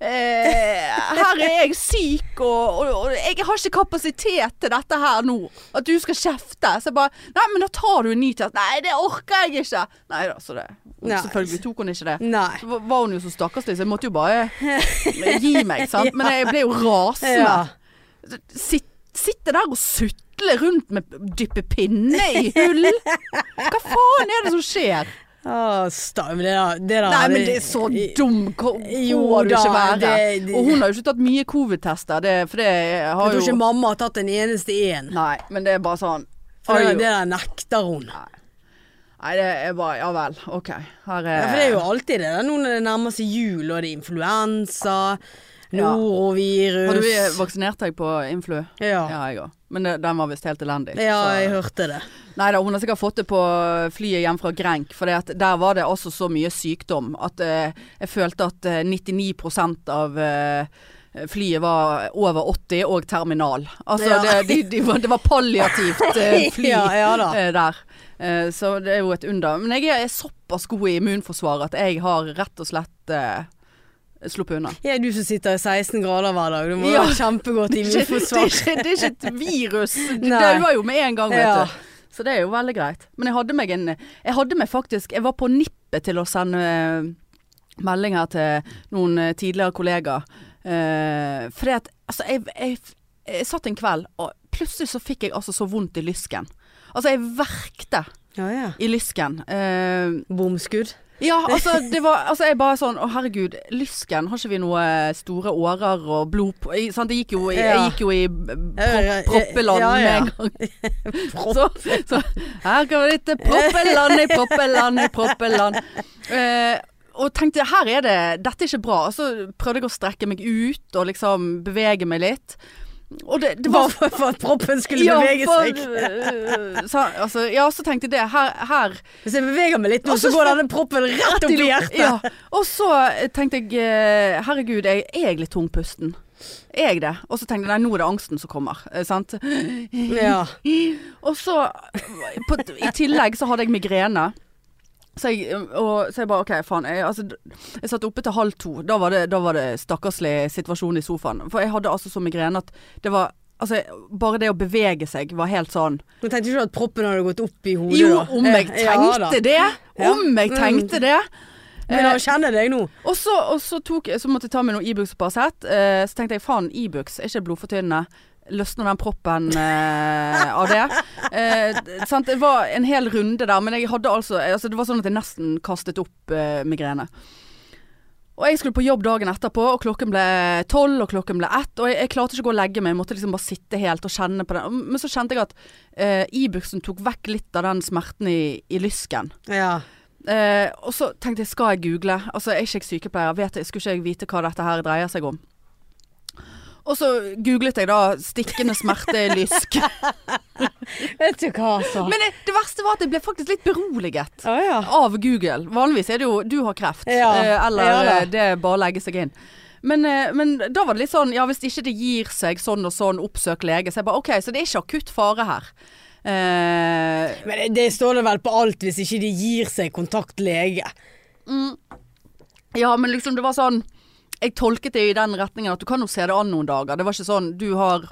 eh, Her er jeg syk, og, og, og jeg har ikke kapasitet til dette her nå. At du skal kjefte. Så jeg bare Nei, men da tar du en ny test. Nei, det orker jeg ikke. Nei da, så det
Nei.
Selvfølgelig tok hun ikke det.
Nei.
Så var hun jo så stakkarslig, så jeg måtte jo bare
[LAUGHS]
gi meg, sant. Men jeg ble jo
Ja.
rasende. Sitt, sitte der og sutle rundt med dyppe pinne i hull. Hva faen er det som skjer?
Å, sta, men det der, det der
Nei, men
hadde-
det er så dum ko-
Jo
får du
da,
ikke være.
det- det-
Og hun har jo ikke tatt mye covid-tester, det, for det
Jeg
har
tror ikke
jo
mamma har tatt en eneste en.
Nei, men det er bare sånn
For det,
Ai,
der- det der nekter hun.
Nei, det er bare Ja vel, OK. Her er
Ja, for det er jo alltid det. der, Nå når det nærmer seg jul, og det er influensa, norovirus
Har du vaksinert deg på influ?
ja.
Ja, jeg òg. Men det, den var visst helt elendig.
ja,
så-
jeg hørte det.
Nei da, hun har sikkert fått det på flyet hjem fra Grenk, for der var det altså så mye sykdom at eh, jeg følte at eh, 99 av eh, flyet var over 80 og terminal. Altså
Ja.
det, de, de, var- det var palliativt eh, fly
[LAUGHS] Ja, ja da.
eh, der. Eh, så det er jo et under. Men jeg er, er såpass god i immunforsvaret at jeg har rett og slett eh, sluppet unna.
Ja, du som sitter i 16 grader hver dag. Du må
Ja.
ha kjempegodt
Det er, ikke, [LAUGHS]
immunforsvar.
det, er ikke, det er ikke et virus. Det
Nei.
dauer jo med en gang, vet
Ja.
du. Så det er jo veldig greit. Men jeg hadde meg en Jeg hadde meg faktisk Jeg var på nippet til å sende melding her eh, til noen eh, tidligere kollegaer. Eh, fordi at altså, jeg, jeg, jeg satt en kveld, og plutselig så fikk jeg altså så vondt i lysken. Altså, jeg verkte
Ja, ja.
i lysken. Eh,
Bomskudd.
ja, altså,
[LAUGHS]
det var, altså jeg bare sånn Å herregud, lysken, har ikke vi noe eh, store årer og blod på i- sant? Det gikk jo i, Jeg
Ja.
gikk jo i propp, proppeland
Ja,
[LAUGHS]
ja.
med en gang. Så, så her kommer det til proppeland i proppeland i proppeland. Eh, og tenkte her er det Dette er ikke bra. Og så prøvde jeg å strekke meg ut og liksom bevege meg litt. Og det, det var
Bare for, for at proppen skulle bevege
for-
seg.
øh, så, altså, ja, så tenkte jeg det. Her, her
Hvis jeg beveger meg litt nå,
Og
så
så
går denne proppen rett opp i hjertet.
Ja. Og så tenkte jeg eh, Herregud, jeg er jeg litt tungpusten? Er jeg det? Og så tenkte jeg nei, nå er det angsten som kommer. eh, Sant?
Ja.
Og så på, I tillegg så hadde jeg migrene. Så jeg, og, så jeg bare OK, faen. Jeg, altså, jeg satt oppe til halv to. Da var det, da var det stakkarslig situasjon i sofaen. For jeg hadde altså så migrene at det var Altså, bare det å bevege seg var helt sånn
Men tenkte du ikke at proppen hadde gått opp i hodet?
Jo,
da?
om jeg
Eh, ja da.
tenkte det! Om jeg
Ja.
tenkte det! eh,
Men jeg kjenner deg nå.
Og så, og så, tok, så måtte jeg ta med noe Ibux og Paracet. Eh, så tenkte jeg faen, Ibux er ikke blodfortynnende. Løsner den proppen eh, av det. Eh, d- sant? Det var en hel runde der, men jeg hadde altså, altså Det var sånn at jeg nesten kastet opp eh, migrene. Og jeg skulle på jobb dagen etterpå, og klokken ble tolv, og klokken ble ett. Og jeg, jeg klarte ikke å gå og legge meg, jeg måtte liksom bare sitte helt og kjenne på den. Men så kjente jeg at eh, Ibuxen tok vekk litt av den smerten i, i lysken.
Ja.
Eh, og så tenkte jeg, skal jeg google? Altså, jeg er ikke jeg sykepleier, vet jeg, skulle ikke jeg vite hva dette her dreier seg om? Og så googlet jeg da stikkende smerte i
[LAUGHS]
lysk.
Vet du hva, altså.
Men det, det verste var at jeg ble faktisk litt beroliget
Å ja.
av Google. Vanligvis er det jo 'du har kreft',
Ja,
eh, eller
ja da.
eh, det er bare å legge seg inn. Men, eh, men da var det litt sånn ja, hvis ikke det gir seg sånn og sånn, oppsøk lege. Så jeg bare OK, så det er ikke akutt fare her. Eh,
Men det, det står det vel på alt hvis ikke de gir seg kontakt lege.
Ja, men liksom det var sånn Jeg tolket det i den retningen at du kan jo se det an noen dager. Det var ikke sånn du har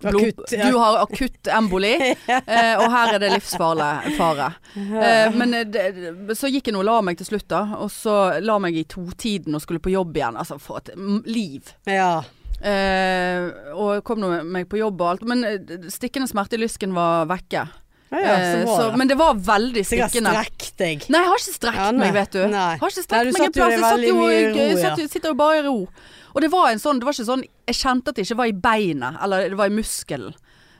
blod,
Akutt, ja.
du har akutt
[LAUGHS]
emboli, eh, og her er det livsfarlig fare. Eh, men eh, det, så gikk jeg nå og la meg til slutt, da. Og så la meg i totiden og skulle på jobb igjen. Altså, for et m- liv.
Ja.
Eh, og kom nå meg på jobb og alt. Men eh, stikkende smerte i lysken var vekke.
Ja, ja,
Eh,
så bra.
så-
da.
men det var veldig
Sikkert
stikkende.
strekk deg.
Nei, jeg har ikke strekt
Ja, nei.
meg, vet du.
Nei.
Jeg Har ikke
Nei,
strekt
du
meg en
satt jo
plass.
deg
Jeg satt
veldig
jo,
mye i ro,
jeg
ja.
satt, jo- sitter jo bare i ro. Og det var en sånn, det var ikke sånn Jeg kjente at det ikke var i beinet, eller det var i muskelen.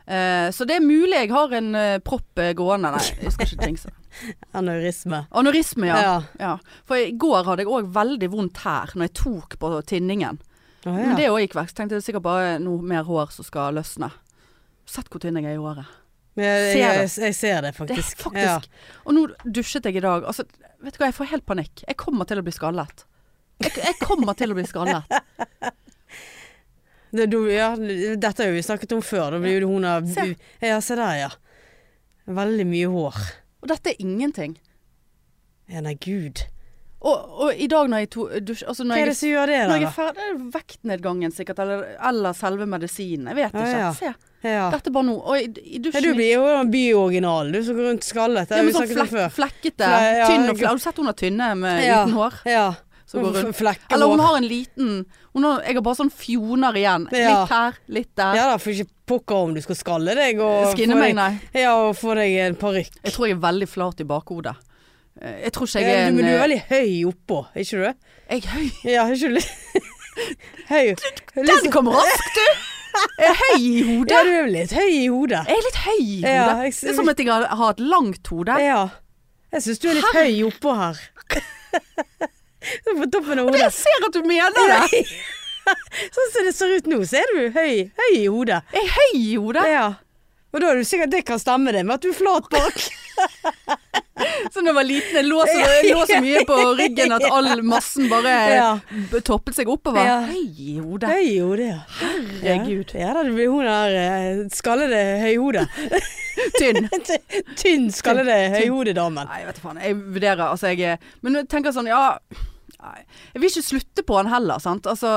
Eh, så det er mulig jeg har en eh, propp eh, gående. Nei, jeg skal ikke jinxe.
Aneurisme.
Anorisme, ja. ja.
[LAUGHS] Ja.
For i går hadde jeg òg veldig vondt her, når jeg tok på tinningen.
Å,
Men
ja.
det òg gikk vekk. Så tenkte jeg det er sikkert bare noe mer hår som skal løsne. Sett hvor tynn jeg er i håret.
Men Jeg,
ser
jeg,
det.
jeg, jeg ser det
Det er
faktisk.
faktisk
Ja.
Og nå dusjet jeg i dag. Altså, vet du hva, jeg får helt panikk. Jeg kommer til å bli skallet. Jeg, jeg kommer til å bli skallet.
Det, du, ja, dette har jo vi snakket om før. Da blir jo hun av
Se.
Ja, se der, ja. Veldig mye hår.
Og dette er ingenting.
Ja, nei, gud.
Og, og i dag når jeg to, dusj, altså
Hva
når
er
jeg,
det som gjør det,
når
da?
jeg er ferdig, er det vektnedgangen sikkert, eller, eller selve medisinen. Jeg vet
Ja,
ikke.
ja.
Se,
da? Ja.
dette er bare nå. Og i, i
Ja,
dusjen
du blir jo en byoriginal, du som går rundt skallet. Det
ja,
har
men
vi
sånn
snakket om
flek,
før.
flekkete.
Fle- ja,
tynn og
jeg-
fle- Har du sett hun er tynne med,
Ja.
uten hår?
Ja.
Som går
[LAUGHS]
rundt.
Flekkehår.
Eller hun har en liten hun har, Jeg har bare sånn fjoner igjen.
Ja.
Litt her, litt der.
Ja da, for ikke pokker om du skal skalle deg og
Skinne
få
meg,
deg,
nei.
ja, og få deg en parykk.
Jeg tror jeg er veldig flat i bakhodet. Eh, Jeg tror ikke jeg er
Men
en
du er
eh,
veldig høy oppå, er ikke du det?
Jeg er høy.
Ja, er ikke du litt Høy. [LAUGHS] Litt
Den
sånn-
kom raskt, du! Jeg er høy i hodet.
[LAUGHS] ja, du er vel litt høy i hodet.
Jeg er litt høy i
Ja,
hodet.
jeg-
Det er som at jeg har har et langt hode.
Ja. Jeg syns du er litt høy oppå [LAUGHS] her. Du er På toppen av hodet.
Jeg ser at du mener det!
[LAUGHS] Sånn som det ser ut nå, så er du høy, høy i hodet.
Jeg er høy i hodet.
Ja. Og da er du sikkert det kan stemme det med at du er flat bak.
Så da jeg var liten, jeg lå så, jeg lå så
[LAUGHS]
mye på ryggen at all massen bare
[LAUGHS] Ja.
b- toppet seg oppover.
Ja.
Høy i hodet.
Høy i hodet, ja.
Herregud.
Ja da, det blir hun der eh, skallede [LAUGHS] høyhodet.
Tynn.
Tynn skallede høyhodedamen.
Nei, jeg vet faen. Jeg vurderer, altså jeg er- Men jeg tenker sånn, ja nei, Jeg vil ikke slutte på den heller, sant. Altså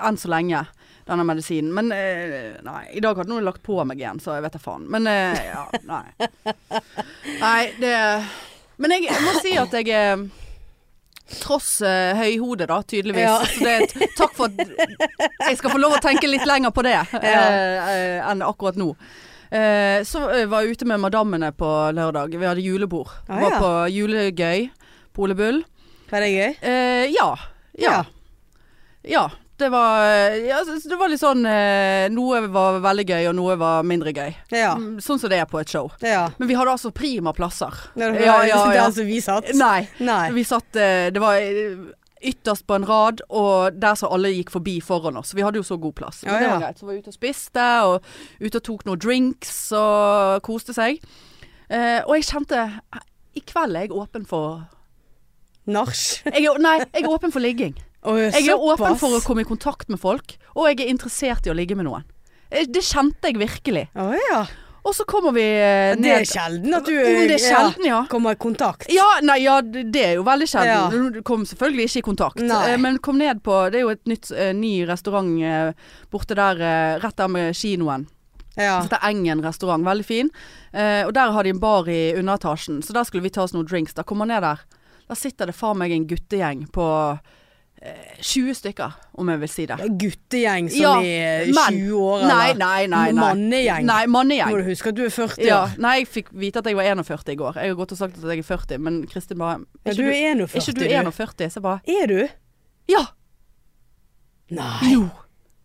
enn så lenge, denne medisinen. Men eh, nei, i dag hadde noen lagt på meg igjen, så jeg vet da faen. Men eh, ja, nei. Nei, det Men jeg, jeg må si at jeg er tross eh, høyhode, da, tydeligvis.
Ja.
Så det, er t- takk for at jeg skal få lov å tenke litt lenger på det eh, eh, enn akkurat nå. Eh, så eh, var jeg ute med madammene på lørdag. Vi hadde julebord.
Ah,
var
ja.
på julegøy på Ole Bull.
Var det gøy?
Eh, ja. Ja. ja. Det var, eh, ja, så det var litt sånn eh, Noe var veldig gøy, og noe var mindre gøy.
Ja.
Mm, Sånn som det er på et show.
ja.
Men vi hadde altså prima plasser.
Det er
Ja, ja, ja.
det er altså vi satt.
Nei.
Nei.
Vi satt eh, Det var eh, ytterst på en rad, og der som alle gikk forbi foran oss. Vi hadde jo så god plass. Men
Ja,
det
ja.
var greit. Så var vi ute og spiste, og ute og tok noen drinks, og koste seg. Eh, og jeg kjente I kveld er jeg åpen for
Nach.
jeg er, Nei, jeg er åpen for
[LAUGHS]
ligging. Jeg er åpen for å komme i kontakt med folk, og jeg er interessert i å ligge med noen. Eh, Det kjente jeg virkelig.
Å ja.
Og så kommer vi eh,
Det er
ned
sjelden at du
Mm, Det er sjelden, ja.
Ja, kommer i kontakt.
Ja, nei, ja, d- det er jo veldig
Ja.
sjelden. Du kom selvfølgelig ikke i kontakt.
Nei.
eh, Men kom ned på Det er jo et nytt, eh, ny restaurant eh, borte der, eh, rett der med kinoen. Altså,
Ja.
Det heter Engen restaurant. Veldig fin. Eh, og der har de en bar i underetasjen, så der skulle vi ta oss noen drinks. Da kommer ned der. Der sitter det faen meg en guttegjeng på eh, 20 stykker, om jeg vil si det.
Det er Guttegjeng som
Ja,
i
men-
20 år,
Nei,
eller?
nei, nei. nei.
Mannegjeng.
Nei, mannegjeng.
Må du huske at du er 40
Ja.
år.
Nei, jeg fikk vite at jeg var 41 i går. Jeg har gått og sagt at jeg er 40, men Kristin bare
Ja, du er 41,
ikke du 41? Så jeg bare
Er du?
Ja!
Nei.
Jo!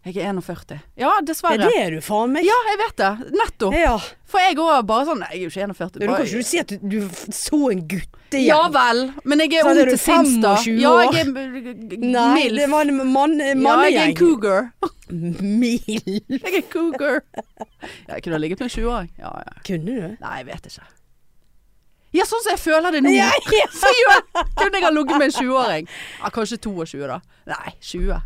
Jeg er 41. Ja,
Ja,
dessverre.
det er du faen meg.
Ja, jeg vet det. Nettopp.
Ja.
For jeg òg bare sånn Jeg er jo ikke 41.
Du kan
bare-
ikke du si at du f- så en guttegjeng.
ja vel, men jeg er
Så er
ung
du
til sinns, da.
25
Ja,
år.
jeg
[LAUGHS]
er g- g-
Nei,
milf.
det var en mann,
ja, jeg er en
mannegjeng.
cougar. [LAUGHS]
Mil.
Jeg er cougar. Ja, jeg kunne ha ligget med en 20-åring. Ja, ja.
Kunne du?
Nei, jeg vet ikke. Ja, sånn som jeg føler det nå.
Ja, ja.
[LAUGHS] Så gjør, kunne jeg ha ligget med en 20-åring. Ja, kanskje 22, da. Nei, 20.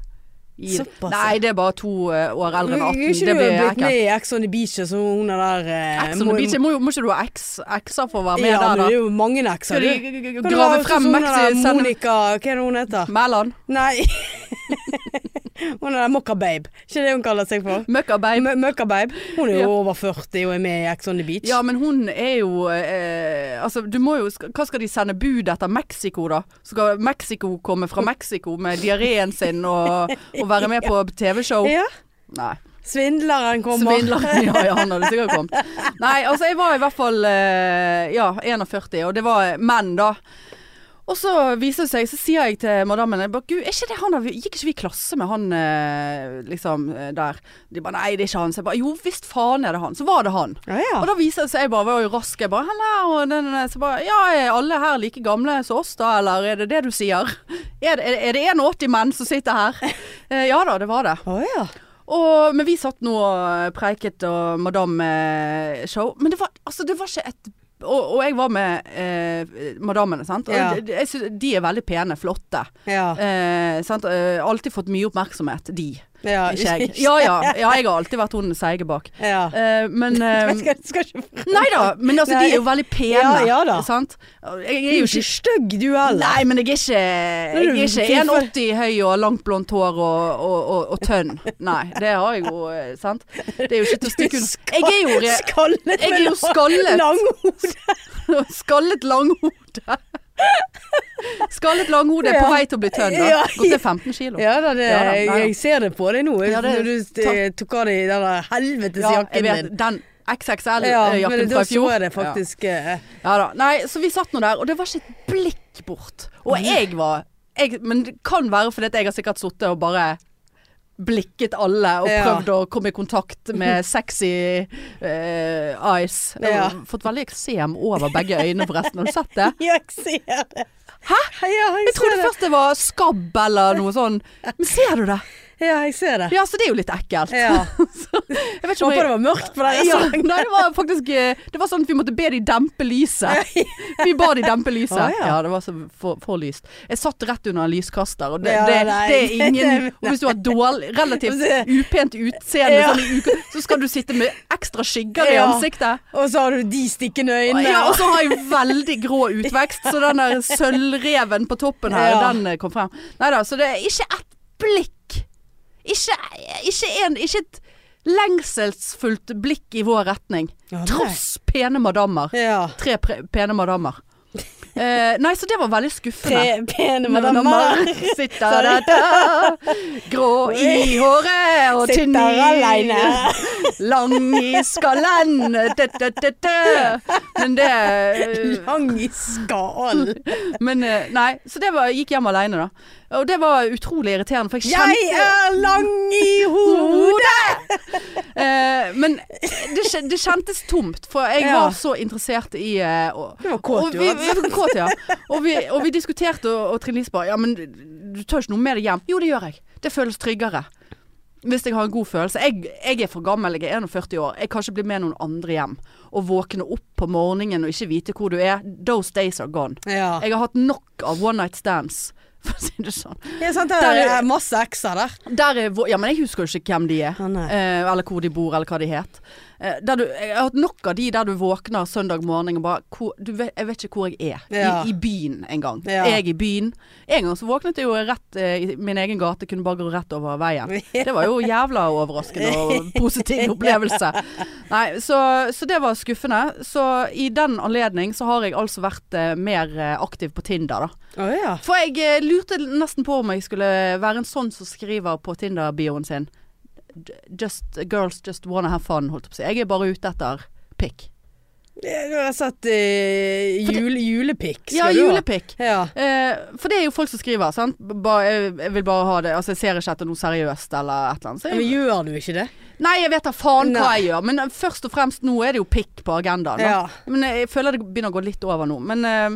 Gi-
Såpass, ja.
Nei, det er bare to eh, år eldre enn 18. Det
Ikke du
blir
blitt
ekkelt.
med i Ex on the Beach, og så hun er der eh,
Ex on the beach, jeg må, jo- må ikke du ha ex- ekser for å være med
ja,
der,
det er
da?
jo mange ekser,
Skal
du.
de g- g-
Kan du
grave
være
frem
sånn
Maxi
der
send-
Monica, hva er det hun heter?
Mæland?
Nei. [LAUGHS] hun er der Mokka Babe. Ikke det hun kaller seg for?
Møkkabein?
M- Mokka Babe. Hun er jo
Ja.
over 40 og er med i Ex on the Beach.
Ja, men hun er jo eh, Altså, du må jo sk- Hva skal de sende bud etter Mexico, da? Skal Mexico komme fra Mexico med diareen sin og, og være med på TV-show?
[LAUGHS] Ja.
Nei.
Svindleren kommer.
Svindler. [LAUGHS] Ja, ja, han hadde sikkert kommet. Nei, altså jeg var i hvert fall eh, ja, 41, og det var eh, menn da. Og så viser det seg, så sier jeg til madammen jeg bare, Gud, er ikke det han der, Gikk ikke vi i klasse med han eh, liksom eh, der? De bare Nei, det er ikke han. Så jeg bare Jo visst faen er det han. Så var det han.
Ja, ja.
Og da viser det seg, jeg bare var jo rask, jeg bare Helle, og den, den, den, så bare Ja, er alle her like gamle som oss da, eller er det det du sier? Er det, er det 81 menn som sitter her? [LAUGHS] Eh, ja da, det var det.
Å ja.
Og, men vi satt nå og preiket og madame-show. Men det var, altså, det var ikke et Og, og jeg var med eh, madammene, sant. Og
Ja.
d- jeg synes de er veldig pene, flotte.
Ja.
Eh, sant? Eh, alltid fått mye oppmerksomhet, de.
ja.
Ikke jeg. Ja ja, ja jeg har alltid vært hun seige bak.
[LAUGHS] Ja.
Eh, men
[LAUGHS] Jeg
eh,
skal, skal ikke
Nei da, men altså,
Nei.
de er jo veldig pene.
Ja, ja da.
Sant? Jeg er
Du er
jo ikke
jo ikke stygg du heller.
Nei, men jeg er ikke,
du
jeg er ikke
fin for-
1,80 høy og langt blondt hår og, og, og, og tønn. Nei, det har jeg jo, eh, sant. Det er jo ikke til å
[LAUGHS]
stikke under. Jeg er jo re
skallet med
jeg er jo
lang-
skallet.
langhode.
skallet
[LAUGHS]
langhode. Skallet langhode er på
Ja.
vei til å bli tønn, da.
Ja.
Gått ned 15 kilo.
Ja da, det,
Ja da, nei da.
jeg ser det på deg nå.
Ja, det-
Når du eh, tok av deg den der helvetes
Ja, jeg
jakken
vet,
din.
den
Ja, men
XXL-jakken
da
Eh, fra i
så
fjor.
jeg det
Ja.
faktisk eh,
Ja da. Nei, så vi satt nå der, og det var ikke et blikk bort. Og jeg var jeg, Men det kan være fordi at jeg har sikkert sittet og bare blikket alle og
Ja.
prøvd å komme i kontakt
[LAUGHS]
med sexy eh, eyes. Jeg har
Ja.
Fått veldig eksem over begge øynene, forresten. Har du sett det?
[LAUGHS] Ja, jeg ser det. Hæ? Ja, jeg,
Jeg trodde
ser det.
først det var skabb eller noe sånn. Men ser du det?
Ja, jeg ser det.
Ja, så det er jo litt ekkelt. [LAUGHS]
Ja.
Jeg vet ikke om
Håper
jeg
det var mørkt på deg.
ja,
[LAUGHS]
nei, det var faktisk eh, Det var sånn at vi måtte be de dempe
[LAUGHS]
lyset. Vi ba de dempe lyset.
Å,
ja.
ja.
det var så for, for lyst. Jeg satt rett under en lyskaster, og det,
Ja,
det,
[LAUGHS] nei.
det er ingen Og hvis du har dårlig,
[LAUGHS]
relativt
Det-
upent utseende,
Ja.
sånn i uka, så skal du sitte med ekstra skygger i
Ja.
ansiktet.
Og så har du de stikkende øynene.
Ja, og så har jeg veldig grå utvekst, så den der sølvreven på toppen her,
Ja.
den eh, kom frem. Nei da, så det er ikke ett blikk. Ikke, ikke, en, ikke et lengselsfullt blikk i vår retning.
Ja, nei.
Tross pene madammer.
Ja.
Tre pre pene madammer. Eh, nei, så det var veldig skuffende.
Pe- Pene
Madammer
madammer
sitter da, da, [LAUGHS] grå i håret og tynn
sitter aleine.
i Lang i skallen dø, dø, dø, dø. Men det eh,
Lang i skall.
Men eh, nei, så det var, jeg gikk hjem alene da. Og det var utrolig irriterende, for jeg
Jeg
kjente
er lang i hodet!
Eh, men det, kje- det kjentes tomt, for jeg
Ja.
var så interessert i eh, og,
Du var kåt,
og
du,
vi,
altså.
[LAUGHS] vi var kåt, ja. og, vi, og vi diskuterte, og, og Trine Lise bare Ja, men du tar ikke noe med deg hjem? Jo, det gjør jeg. Det føles tryggere. Hvis jeg har en god følelse. Jeg, jeg er for gammel, jeg er 41 år. Jeg kan ikke bli med noen andre hjem. Og våkne opp på morgenen og ikke vite hvor du er. Those days are gone.
Ja.
Jeg har hatt nok av one night stands, [LAUGHS] for å si det sånn.
Det er sant, det
Der
er
er-
masse ekser der.
Der er, vår- ja, men jeg husker jo ikke hvem de er.
Å, nei.
eh, eller hvor de bor, eller hva de het. Eh, der du, jeg har hatt nok av de der du våkner søndag morgen og bare hvor, du vet, Jeg vet ikke hvor jeg er.
Ja.
I, I byen en gang.
Ja.
Jeg i byen. En gang så våknet jeg jo rett eh, i min egen gate, kunne bare gå rett over
[LAUGHS]
veien. Det var jo jævla overraskende og positiv opplevelse. Nei, så, så det var skuffende. Så i den anledning så har jeg altså vært eh, mer eh, aktiv på Tinder, da.
Å ja.
For jeg eh, lurte nesten på om jeg skulle være en sånn som skriver på Tinder-bioen sin J- Just, Girls just wanna have fun, holdt jeg på å si. Jeg er bare ute etter pikk.
Du har sett eh, jule, julepikk.
Ja,
skal du ha.
julepikk.
Ja.
Eh, for det er jo folk som skriver, sant. Bare, jeg, jeg vil bare ha det Altså, jeg ser ikke etter noe seriøst eller et eller annet. Så
Men
jeg,
gjør du ikke det?
nei, jeg vet da faen hva
Nei.
jeg gjør, men eh, først og fremst nå er det jo pikk på agendaen. da.
Ja.
Men eh, jeg føler det begynner å gå litt over nå. Men eh,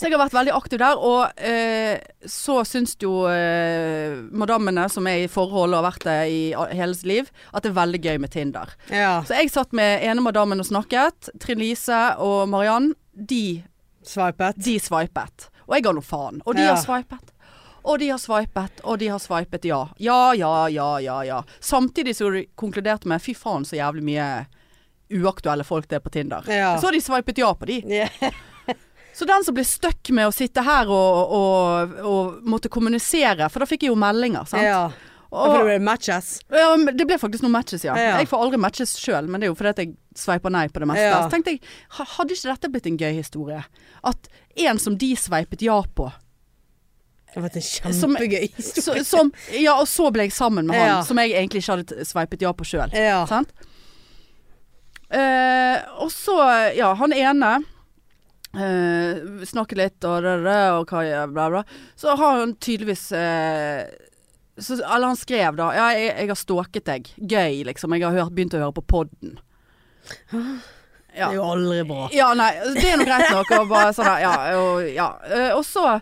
Så jeg har vært veldig aktiv der, og eh, så syns jo eh, madammene som er i forhold og har vært det i a- hele sitt liv, at det er veldig gøy med Tinder.
ja.
Så jeg satt med ene madammen og snakket. Trine Lise og Mariann, de,
Sveipet.
de swipet. Og jeg ga nå faen. Og de
Ja.
har swipet. Og de har swipet, og de har swipet ja. Ja, ja, ja, ja. ja. Samtidig så de konkluderte med fy faen så jævlig mye uaktuelle folk det er på Tinder.
Ja.
Så har de swipet ja på de.
Ja.
Så den som blir stuck med å sitte her og, og, og måtte kommunisere, for da fikk jeg jo meldinger, sant.
ja. Og
Og,
det ble matches.
ja, men det ble faktisk noen matches, ja.
Ja.
Jeg får aldri matches sjøl, men det er jo fordi at jeg sveiper nei på det meste.
Ja.
Så tenkte jeg, ha- hadde ikke dette blitt en gøy historie? At en som de sveipet ja på,
Det var en
Som- så,
kjempegøy historie.
som Ja, og så ble jeg sammen med han
Ja.
som jeg egentlig ikke hadde sveipet ja på sjøl.
Ja.
Sant? Eh, og så, ja, han ene eh, snakket litt og, da, da, da, og hva, ja, bla, bla. Så har han tydeligvis eh, så, Eller han skrev da Ja, jeg, jeg har stalket deg. Gøy, liksom. Jeg har hørt, begynt å høre på podden.
Det er jo aldri bra.
Ja, nei, det er nå greit nok. Og bare sånn der, ja, og, ja. Eh, og så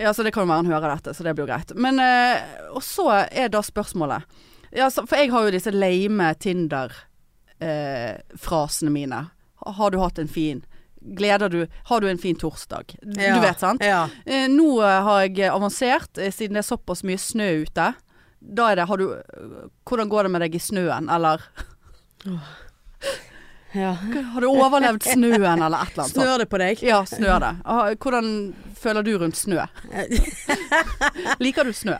Ja, så det kan jo være han hører dette, så det blir jo greit. Men eh, Og så er da spørsmålet ja, så, For jeg har jo disse lame Tinder-frasene mine. Har du hatt en fin Gleder du Har du en fin torsdag? Du,
Ja.
du vet, sant?
Ja.
Eh, nå eh, har jeg avansert, eh, siden det er såpass mye snø ute. Da er det Har du eh, Hvordan går det med deg i snøen, eller [LAUGHS]
ja.
Har du overlevd snøen, eller et eller annet sånt?
Snør det på deg?
Ja, snø er det. Ah, Hvordan føler du rundt [LAUGHS] snø? Liker du snø?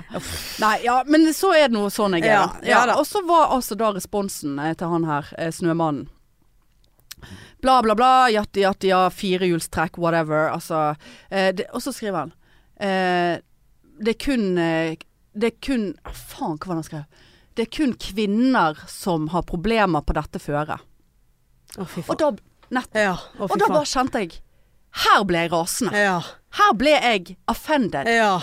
Nei, ja, men så er det noe sånn jeg er.
Ja,
da.
ja da.
og så var altså da responsen eh, til han her, eh, snømannen. Bla, bla, bla, jatti, jatti, ja, firehjulstrekk, whatever. Altså, eh, det, og så skriver han eh, Det er kun eh, Det er kun ah, Faen, hva var det han skrev? Det er kun kvinner som har problemer på dette føret.
Å, fy
Og
faen.
da, nett,
Ja. Å,
og
fy
da
faen.
bare kjente jeg Her ble jeg rasende.
Ja.
Her ble jeg offended.
Ja.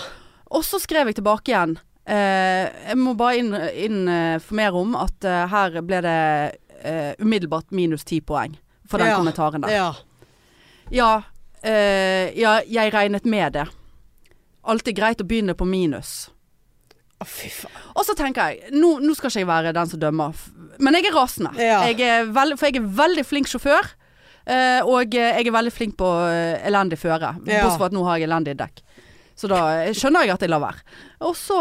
Og så skrev jeg tilbake igjen. Eh, jeg må bare inn- informere om at eh, her ble det eh, umiddelbart minus ti poeng for den
Ja.
kommentaren der.
Ja.
Ja, eh, ja, jeg regnet med det. Alltid greit å begynne på minus.
Å, fy faen.
Og så tenker jeg, nå, nå skal ikke jeg være den som dømmer, f- men jeg er rasende.
Ja.
Jeg er veld, for jeg er veldig flink sjåfør, eh, og eh, jeg er veldig flink på eh, elendig føre.
Ja.
Bortsett fra at nå har jeg elendig dekk. Så da eh, skjønner jeg at jeg lar være. Og så,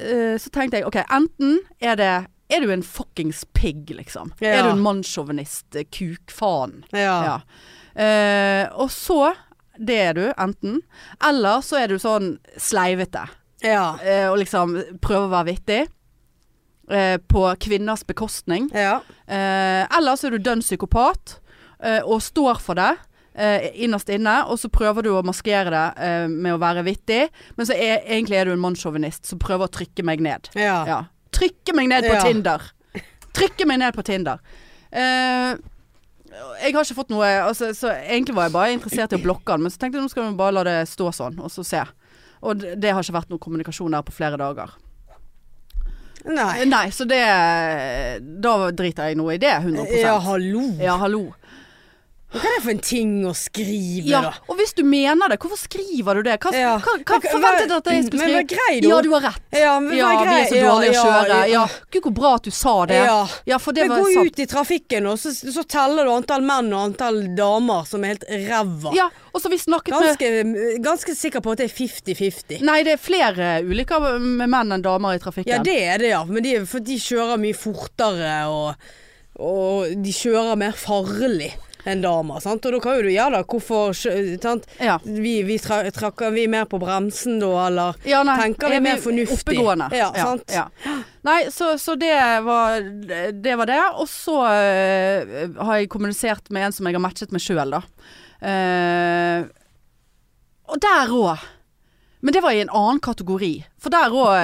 eh, så tenkte jeg, ok, enten er det er du en fuckings pigg, liksom?
Ja.
Er du en mannssjåvinist, eh, kukfaen?
Ja.
Ja. Eh, og så, det er du, enten. Eller så er du sånn sleivete
Ja.
eh, og liksom prøve å være vittig. eh, På kvinners bekostning.
Ja.
Eh, Eller så er du dønn psykopat eh, og står for det. eh, innerst inne, og så prøver du å maskere det eh, med å være vittig, men så er, egentlig er du en mannssjåvinist som prøver å trykke meg ned.
Ja.
Ja. Trykke meg ned på
Ja.
Tinder. Trykke meg ned på Tinder. Eh, jeg har ikke fått noe altså, Så egentlig var jeg bare interessert i å blokke han, men så tenkte jeg nå skal vi bare la det stå sånn, og så se. Og det, det har ikke vært noe kommunikasjon der på flere dager.
Nei.
Nei, så det Da driter jeg noe i det, 100
Ja, hallo.
Ja, hallo.
Hva er det for en ting å skrive,
Ja,
da?
og hvis du mener det, hvorfor skriver du det? Hva,
Ja.
hva, hva
Men hva-
forventet du at jeg skulle
men
skrive?
vær grei, da.
Ja, du har rett.
Ja, men
Ja, vi
vær grei.
er så dårlige å kjøre. Ja, Gud, hvor bra at du sa det.
Ja.
Ja, for det
Men
var
gå
sant.
ut i trafikken, og så, så teller du antall menn og antall damer som er helt ræva.
Ja, og så vi snakket med
Ganske, ganske sikker på at det er 50-50.
Nei, det er flere ulykker med menn enn damer i trafikken.
Ja, det er det, ja. Men de, for de kjører mye fortere, og, og de kjører mer farlig enn damer. Sant? Og da kan jo du Ja da, hvorfor kjø- sant?
ja.
Vi, vi tra trakker vi mer på bremsen da, eller
Ja, nei,
Tenker vi
er
mer fornuftig?
Oppegående.
Ja, sant?
ja. Nei, så, så det, var, det var det. Og så eh, har jeg kommunisert med en som jeg har matchet med sjøl, da. Eh, og der òg. Men det var i en annen kategori. For der òg,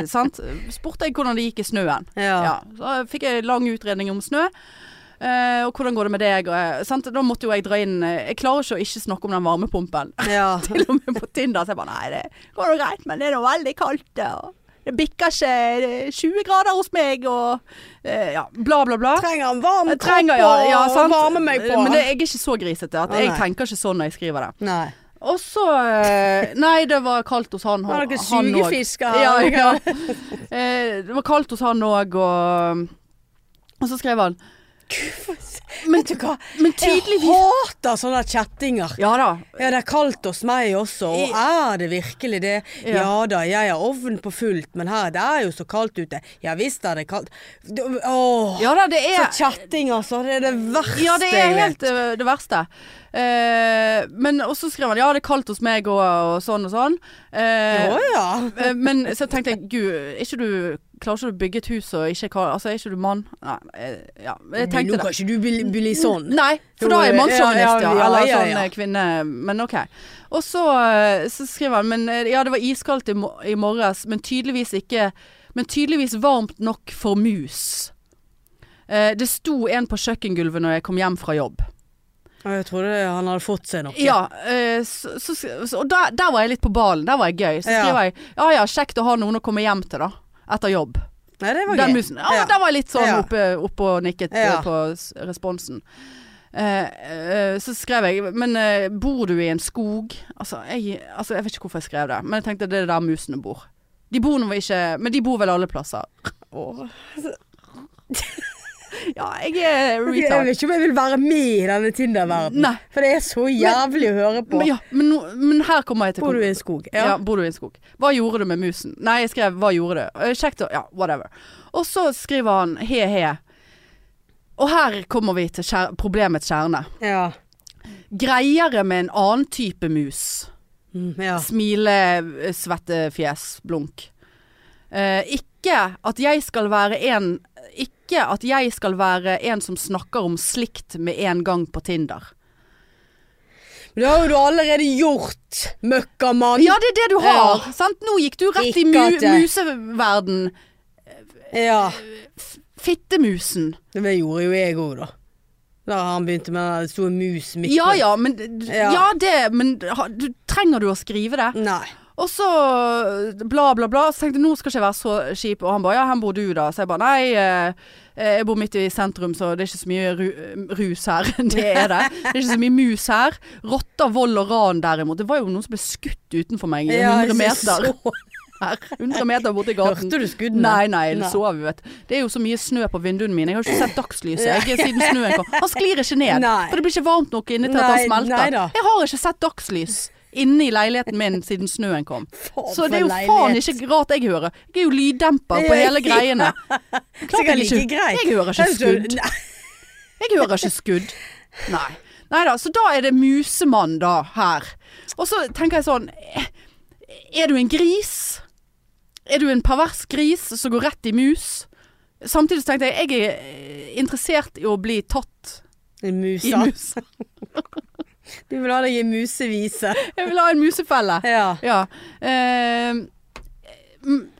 eh, [LAUGHS] sant, spurte jeg hvordan det gikk i snøen.
Ja.
Ja, så fikk jeg lang utredning om snø. eh, og hvordan går det med deg? Og, eh, sant? Da måtte jo jeg dra inn eh, Jeg klarer ikke å ikke snakke om den varmepumpen
[LAUGHS]
[LAUGHS]
ja.
til og med på Tinder. Så jeg bare nei, det går nå greit, men det er nå veldig kaldt. det, Og det bikker ikke det er 20 grader hos meg, og eh, ja, bla, bla, bla.
Trenger en varm
Jeg
kropp
trenger, ja, ja,
og
sant?
varme meg på.
Men det, jeg er ikke så grisete. At
Å,
jeg
nei.
tenker ikke sånn når jeg skriver det.
Nei.
Og så eh, Nei, det var kaldt hos han.
Har
han
dere
også.
sugefisker?
Ja, ja. [LAUGHS] Eh, det var kaldt hos han òg, og Og så skrev han
Men, Vet du hva?
Men tydeligvis
Jeg hater sånne kjettinger.
Ja da.
Ja, det er kaldt hos meg også, og er det virkelig det?
Ja.
Ja, da, jeg har ovnen på fullt, men her, det er jo så kaldt ute. Ja visst er det kaldt. Du- Åh,
Ja da, det er
så kjetting altså, det er det verste
Ja, det
jeg
er
vet.
helt ø, det verste. Eh, men og så skrev han ja, det er kaldt hos meg og, og sånn og sånn. Eh,
Å ja.
eh, men så tenkte jeg gud, er ikke du, klarer ikke du å bygge et hus og ikke kal- Altså, er ikke du mann? Nei, eh, ja, jeg
Nå
tenkte
kan
det.
ikke du bli, bli sånn.
Nei, for da
Jo,
er jeg
ja,
mannssjåvinist, ja.
ja, ja,
Eller
ja,
sånn
ja.
eh, kvinne Men OK. Og så, eh, så skriver han Men eh, ja, det var iskaldt i, mo i morges, men tydeligvis ikke Men tydeligvis varmt nok for mus. Eh, det sto en på kjøkkengulvet når jeg kom hjem fra jobb.
Å, Jeg trodde han hadde fått seg noe.
Ja, eh, så, så, så, og der, der var jeg litt på ballen. Der var jeg gøy. Så
Ja.
skriver jeg ja ja, kjekt å ha noen å komme hjem til, da. Etter jobb.
Nei, det var
Den
gøy.
musen. Ja,
Ja.
Der var jeg litt sånn
Ja.
oppe, oppe og nikket eh,
Ja.
på s- responsen. Eh, eh, så skrev jeg Men eh, bor du i en skog? Altså jeg, altså, jeg vet ikke hvorfor jeg skrev det, men jeg tenkte det er der musene bor. De bor nå ikke Men de bor vel alle plasser.
Åh.
[LAUGHS] Ja, jeg er
Jeg
retard.
vet ikke om jeg vil være med i denne Tinder-verdenen.
Nei.
For det er så jævlig å høre på.
Men, ja, men, nå- men her kommer jeg til
Bor du i en skog?
Ja. bor du i en skog? Hva gjorde du med musen? Nei, jeg skrev 'hva gjorde du?' Eh, Kjekt å Ja, whatever. Og så skriver han he-he. Og her kommer vi til kjer problemets kjerne.
Ja.
Greiere med en annen type mus.
Mm, ja.
Smile, eh, svettefjes, blunk. Eh, ikke at jeg skal være en Ikke at jeg skal være en som snakker om slikt med en gang på Tinder.
Men da har jo du allerede gjort, møkkamann.
Ja, det er det du har! Sant? Nå gikk du rett i
Ikke
mu
at jeg-
museverden.
Ja.
Fittemusen.
Det gjorde jo jeg òg, da. Da han begynte med den der store mus midt
Ja
på-
ja, men, d-
Ja.
ja det, men ha- du, trenger du å skrive det?
Nei.
Og så bla, bla, bla. Så tenkte jeg nå skal ikke jeg være så kjip. Og han bare ja, her bor du da. Så jeg bare nei, eh, jeg bor midt i sentrum, så det er ikke så mye ru, eh, rus her. [LAUGHS] Det er det. Det er ikke så mye mus her. Rotter, vold og ran derimot. Det var jo noen som ble skutt utenfor meg i
Ja,
100 meter
jeg så-
her. 100 meter borti gaten.
Hørte du skuddene?
Nei, nei,
Nei.
det sover vi, vet du. Det er jo så mye snø på vinduene mine. Jeg har jo ikke sett dagslyset
[LAUGHS]
jeg, siden snøen kom. Han sklir ikke ned,
Nei.
for det blir ikke varmt nok inne til at han
Nei,
smelter.
nei da.
jeg har ikke sett dagslys inne i leiligheten min siden snøen kom.
Faen
Så
for
det er jo
leilighet.
faen ikke rart jeg hører. Jeg er jo lyddemper på hele
[LAUGHS]
greiene. Klart
Sikkert
jeg ikke-
like greit.
jeg hører ikke
Nei, så-
skudd.
Nei.
Jeg hører ikke skudd. Nei. Nei da, så da er det musemann da, her. Og så tenker jeg sånn Er du en gris? Er du en pervers gris som går rett i mus? Samtidig så tenkte jeg jeg er eh, interessert i å bli tatt
En mus,
i
da.
mus.
Du vil ha deg
[LAUGHS]
en musevise.
Jeg vil ha en musefelle.
Ja.
Ja. Eh, m-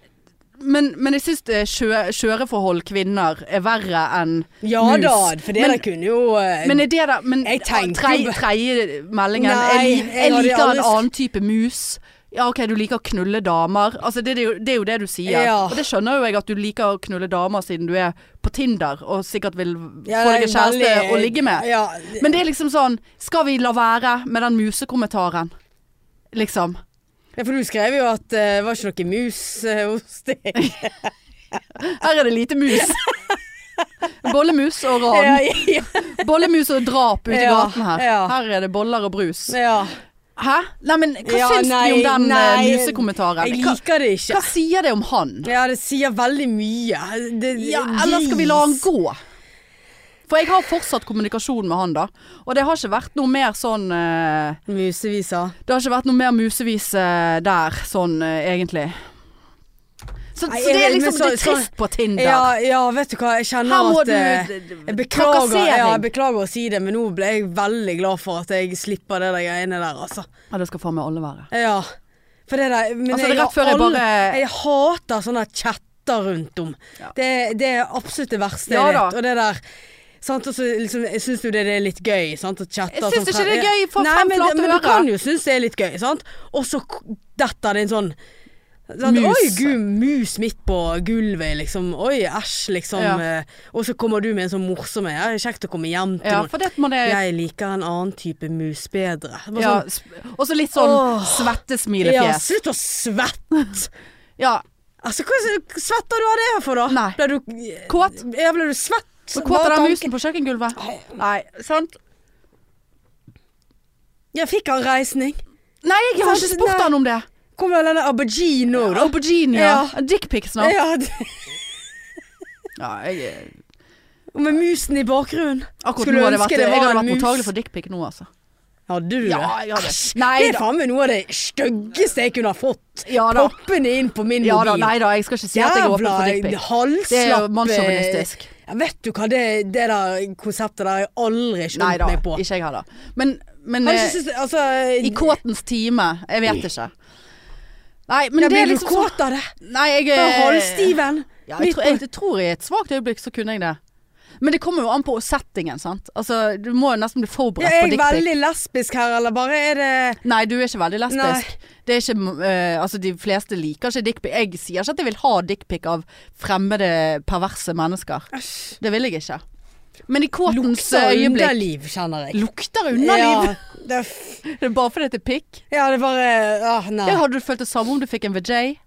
men, men jeg syns sjø, kjøreforhold kvinner er verre enn
Ja
Mus.
da, for det
Men-
der kunne jo eh,
Men er det da men,
Jeg tenkte
tre,
jo-
Tredje meldingen
Nei,
Jeg, li-
jeg
jeg
hadde
liker en
aldri-
annen type mus. Ja, OK, du liker å knulle damer. Altså, det, det, er jo, det er jo det du sier.
Ja.
Og det skjønner jo jeg at du liker å knulle damer siden du er på Tinder og sikkert vil
ja,
få deg
det er
en kjæreste
veldig-
å ligge med.
Ja,
Men det er liksom sånn Skal vi la være med den musekommentaren? Liksom.
ja, for du skrev jo at eh, det var ikke noe mus eh, hos
[LAUGHS]
deg.
Her er det lite
[LAUGHS]
mus. Bollemus og
Ja,
ran.
ja,
Bollemus og drap ute i
Ja,
gaten her.
ja.
Her er det boller og brus.
ja.
Hæ? Nei, men hva
Ja,
syns
nei,
du om den
nei,
eh, musekommentaren?
Jeg
Hva,
liker det ikke.
hva sier det om han?
Ja, det sier veldig mye. Det,
Ja, eller skal vi la han gå? For jeg har fortsatt kommunikasjon med han, da. Og det har ikke vært noe mer sånn eh,
Musevisa.
Det har ikke vært noe mer musevis eh, der, sånn eh, egentlig. Så,
Nei,
så det
jeg-
er liksom
men så-
det er trist på Tinder.
Ja, ja, vet du hva. Jeg kjenner
Her må
at eh,
du
jeg beklager,
Trakassering.
ja, jeg beklager å si det, men nå ble jeg veldig glad for at jeg slipper det der greiene der, altså.
Ja, det skal faen meg alle være.
Ja. For det der men
Altså, det er
har
rett før jeg
alle-
bare-
Jeg hater sånne chatter rundt om.
Ja.
Det, det er absolutt det verste
Ja
jeg
da.
vet. Og det der Sant, og så liksom, jeg syns jo det, det er litt gøy. Sant, og chatter,
Jeg syns
sånn
ikke det er
frem-
gøy, få
Nei,
frem
men,
flate
men du
ører.
kan jo synes det er litt gøy, sant. Og så k- detter det en sånn sant,
Mus.
Oi, gud, mus midt på gulvet, liksom. Oi, æsj, liksom.
Ja.
eh, Og så kommer du med en sånn morsom en. Ja, Kjekt å komme hjem til
Ja,
noen.
for det må det
Jeg liker en annen type mus bedre. Det var
ja,
sånn,
sp- Og så litt sånn
Åh. ja,
svettesmilefjes.
slutt å svette!
Ja.
Altså, hva svetter du av det her for, da?
Nei.
Ble du
Kåt.
Ja, ble du svett?
Så kåt av
Bare
den musen
tanken-
på kjøkkengulvet. Nei, sant?
Jeg fikk han reisning.
Nei, jeg har ikke
Sant,
spurt
nei.
han om det.
Kom med denne aubergine nå, da.
Aubergine, ja. Dickpic snart.
Ja, det-
Ja,
eh,
jeg,
og med musen i bakgrunnen.
akkurat
Skulle
nå hadde jeg vært,
ønske det var
jeg hadde
en
vært
mus.
mottagelig for dickpic nå, altså.
Hadde du
Ja,
det?
jeg hadde.
Æsj,
Nei
det er
da.
faen meg noe av det styggeste jeg kunne ha fått.
Ja da.
Poppende inn på min
Ja da,
mobil.
nei da, jeg skal ikke si at jeg er åpen for
Jævla
dickpic.
halslapp
Det er jo
eh,
mannssjåvinistisk.
Ja, vet du hva, det, det der konseptet der har jeg aldri
Nei
skjønt
da,
meg på.
ikke jeg heller. Men, men
Har du
eh,
ikke syntes det- altså,
i kåtens time, jeg vet ikke. Nei, men
Ja,
det
blir
er
du
liksom sånn
kåt av det?
Nei, jeg
Med
eh,
Halvstiven?
Ja, jeg, tror,
Midt på-
jeg, jeg tror i et svakt øyeblikk så kunne jeg det. Men det kommer jo an på settingen, sant. Altså, du må jo nesten bli
Ja,
forberedt
er
på
jeg
dickpic.
veldig lesbisk her, eller bare er det
Nei, du er ikke veldig lesbisk. Det er ikke, eh, altså, de fleste liker ikke dickpic. Jeg sier ikke at jeg vil ha dickpic av fremmede, perverse mennesker.
Æsj.
Det vil jeg ikke. Men i kåtens
Lukter
øyeblikk
underliv, kjenner jeg.
Lukter underliv!
Ja, det, er f-
[LAUGHS] Det er bare fordi det er pikk.
ja, det er bare ah, Nei.
Ja. Hadde du følt det samme om du fikk en VJ?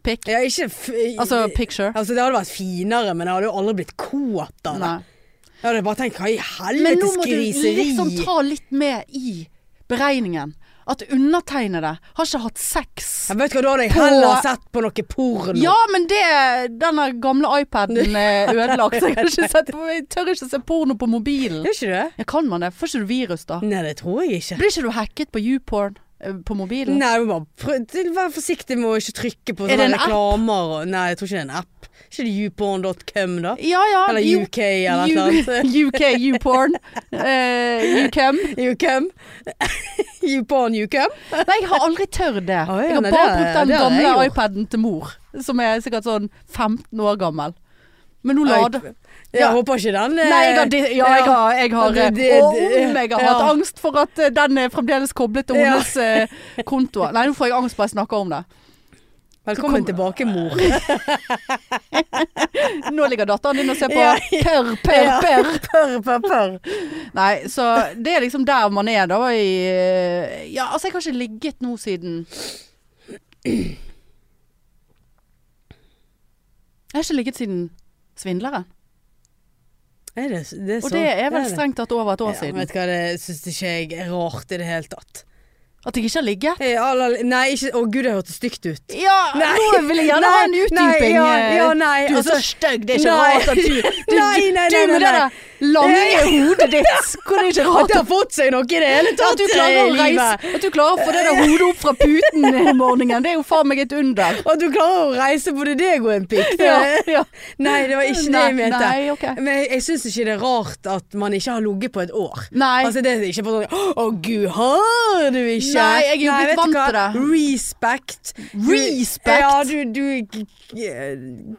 Pikk.
Ja, ikke f
Altså picture.
altså, det hadde vært finere, men jeg hadde jo aldri blitt kåt av det.
Nei.
Jeg hadde bare tenkt hva i
Men nå
helvetes
må du
griseri.
liksom ta litt med i beregningen. At undertegnede har ikke hatt sex.
ja, vet du hva, da hadde jeg
På-
heller sett på noe porno.
Ja, men det Den gamle iPaden er ødelagt. så Jeg, kan ikke sette, på- jeg tør ikke se porno på mobilen.
Gjør ikke du det?
Ja, kan man det? Får ikke du virus, da?
Nei, det tror jeg ikke.
Blir ikke du hacket på YouPorn eh, på mobilen?
Nei, men bare prøv, til- vær forsiktig med å ikke trykke på
Er det
sånne
en app?
reklamer. Og, nei, jeg tror ikke det er en app. Ikke det youporn.com, da?
Ja ja.
Eller
you-
UK, eller
you- [LAUGHS]
noe sånt.
UK, YouPorn. Uh, YouCam.
YouCam. [LAUGHS] YouPorn, YouCam.
Nei, jeg har aldri tørd det.
Å, ja,
Jeg har
nei,
bare
det-
brukt den
det har jeg
gamle
gjort.
iPaden til mor, som er sikkert sånn 15 år gammel. Men nå lader
Jeg
Ja.
håper ikke den eh,
Nei, jeg har, di- ja, jeg har, jeg har
Ja, det- det-
Og om jeg har
ja.
hatt angst for at eh, den er fremdeles koblet til
Ja.
hennes eh, konto. Nei, nå får jeg angst bare jeg snakker om det.
Velkommen
Kom-
tilbake, mor.
[LAUGHS] Nå ligger datteren din og ser på
Ja.
per, per,
Ja.
per.
Purr, purr, purr.
Nei, så det er liksom der man er da i eh, Ja, altså jeg har ikke ligget nå siden Jeg har ikke ligget siden svindleren.
Er det, det er
Og
sånn?
det er vel
det.
strengt tatt over et år
Ja,
siden.
vet du hva, det syns ikke jeg er rart i det hele tatt.
At jeg ikke har ligget?
Eh, alle- Nei, ikke Å gud, det hørtes stygt ut.
Ja,
Nei.
nå vil jeg gjerne ha en
Nei,
utdyping.
Nei, ja,
eh,
ja, nei,
Du er
altså-
så stygg, det er ikke
Nei. [LAUGHS]
rart at du, du,
Nei, nei,
du
nei,
med
nei,
det
nei.
der lange hodet
[LAUGHS]
ditt. Hvor det ikke er
At
rart
det har fått seg noe i det hele
at
tatt eh,
du klarer å
i
reise
livet.
At du klarer å få det der hodet opp fra puten om morgenen. Det er jo faen meg et
[LAUGHS]
under.
At du klarer å reise både deg og en pikk. Det-
ja.
[LAUGHS] Nei, det var ikke det
Nei,
jeg mente.
nei, ok.
Men jeg- jeg syns ikke det er rart at man ikke har ligget på et år.
Nei.
Altså det er ikke bare sånn Å gud, har du ikke?
Nei, jeg er jo blitt
vet du
vant til
hva?
det.
Respect. Du-
Respect?
Ja, du, du k- k-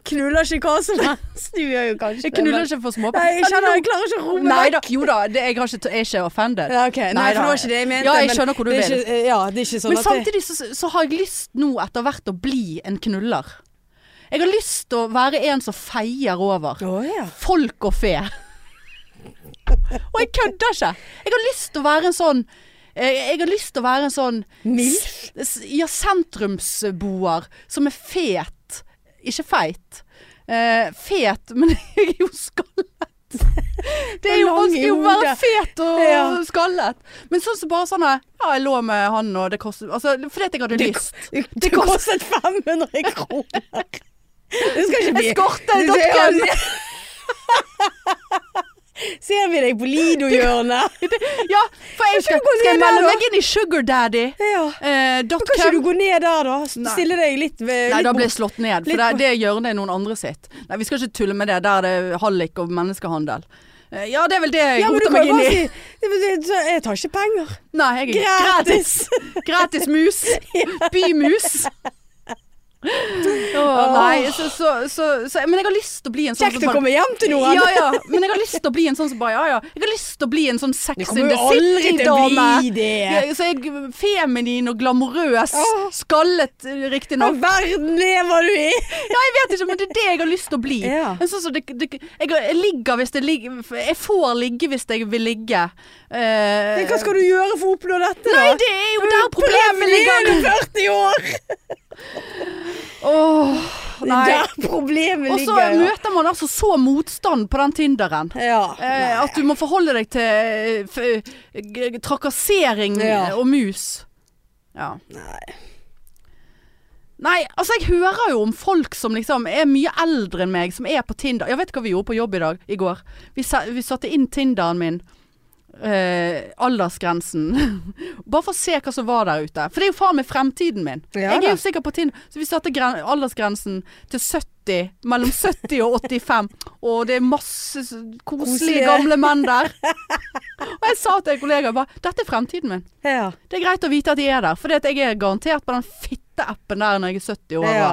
knuller ikke hva som helst. Du gjør jo kanskje
jeg knuller
det.
ikke for
men-
småbarn.
Nei, jeg kjenner jeg klarer ikke å roe
Nei
meg
da. Jo da, det, jeg, har ikke, jeg er ikke offended.
Ja, ok. Nei,
Nei
for det
da.
var ikke det jeg mente.
Ja, jeg
men
skjønner hvor du
det er
vil.
Ikke, ja, det er ikke sånn
Men
at det-
samtidig så, så har jeg lyst nå etter hvert å bli en knuller. Jeg har lyst til å være en som feier over.
Å ja.
Folk og fe. Og jeg kødder ikke. Jeg har lyst til å være en sånn eh, Jeg har lyst til å være en sånn
Milf?
s- Ja, sentrumsboer som er fet. Ikke feit. Eh, fet, [LAUGHS] men jeg er jo skallet. Det er jo
Lang i
vanskelig å være
hodet.
fet og
Ja.
skallet. Men sånn som bare sånn her, Ja, jeg lå med han, og det kostet Altså, fordi at jeg hadde
Det-
lyst.
Det, [LAUGHS] det kostet 500 kroner. [LAUGHS] Det skal ikke bli
Eskorte.com.
Ser vi deg på Lido-hjørnet?
Ja, for jeg skal,
du gå
skal jeg
ned der,
melde
da?
meg inn i Sugar Daddy.
Ja.
Eh, dot
Kan ikke
com.
du gå ned der, da?
Nei.
Stille deg litt ved
Nei,
litt
da ble
bort.
jeg slått ned.
litt
For det,
bort.
det hjørnet er noen andre sitt. Nei, vi skal ikke tulle med det. Der er det hallik og menneskehandel. Eh, Ja, det er vel det jeg
ja, men du
roter
kan
meg
jo
inn
bare
i.
si det betyr- så Jeg tar ikke penger.
[LAUGHS] Nei, jeg er
Gratis!
Gratis
[LAUGHS]
mus. Bymus. Åh, nei, så, så, så, så Men jeg har lyst til å bli en sånn
Kjekt å komme hjem til noen.
Ja, ja. Men jeg har lyst til å bli en sånn som bare Ja, ja. Jeg har lyst til å bli en sånn
Du
Sex in
kommer
the
jo aldri til å
City-dame.
bli det.
Ja, så jeg Feminin og glamorøs.
Åh.
Skallet, eh, riktignok.
Hva verden lever du i?
Ja, jeg vet ikke, men det er det jeg har lyst til å bli.
Ja.
Men sånn som det, det, jeg, jeg ligger hvis det ligger Jeg får ligge hvis jeg vil ligge. Eh,
Men Hva skal du gjøre for å oppnå dette, da?
Nei, det er jo der problemet
Problemet
ligger!
ligger i 40 år!
[LAUGHS] Åh,
Det
nei.
er der problemet
Og så
ligger. ja.
møter man altså så motstand på den Tinderen.
Ja.
Eh, at du må forholde deg til eh, f g- trakassering
Ja.
og mus. Ja. Nei. Nei, altså jeg hører jo om folk som liksom er mye eldre enn meg, som er på Tinder. Jeg vet hva vi gjorde på jobb i dag, i går. Vi, sa, vi satte inn Tinderen min. Eh, aldersgrensen. [LAUGHS] Bare for å se hva som var der ute. For det er jo faen meg fremtiden min.
Ja
jeg er
da.
jo sikker på Tinder. Så vi satte gren aldersgrensen til 70. Mellom 70 og 85. Og det er masse s-
Koselige.
koselige gamle menn der. Og jeg sa til en kollega bare Dette er fremtiden min.
ja.
Det er greit å vite at de er der. For jeg er garantert på den fitteappen der når jeg er 70 år.
ja.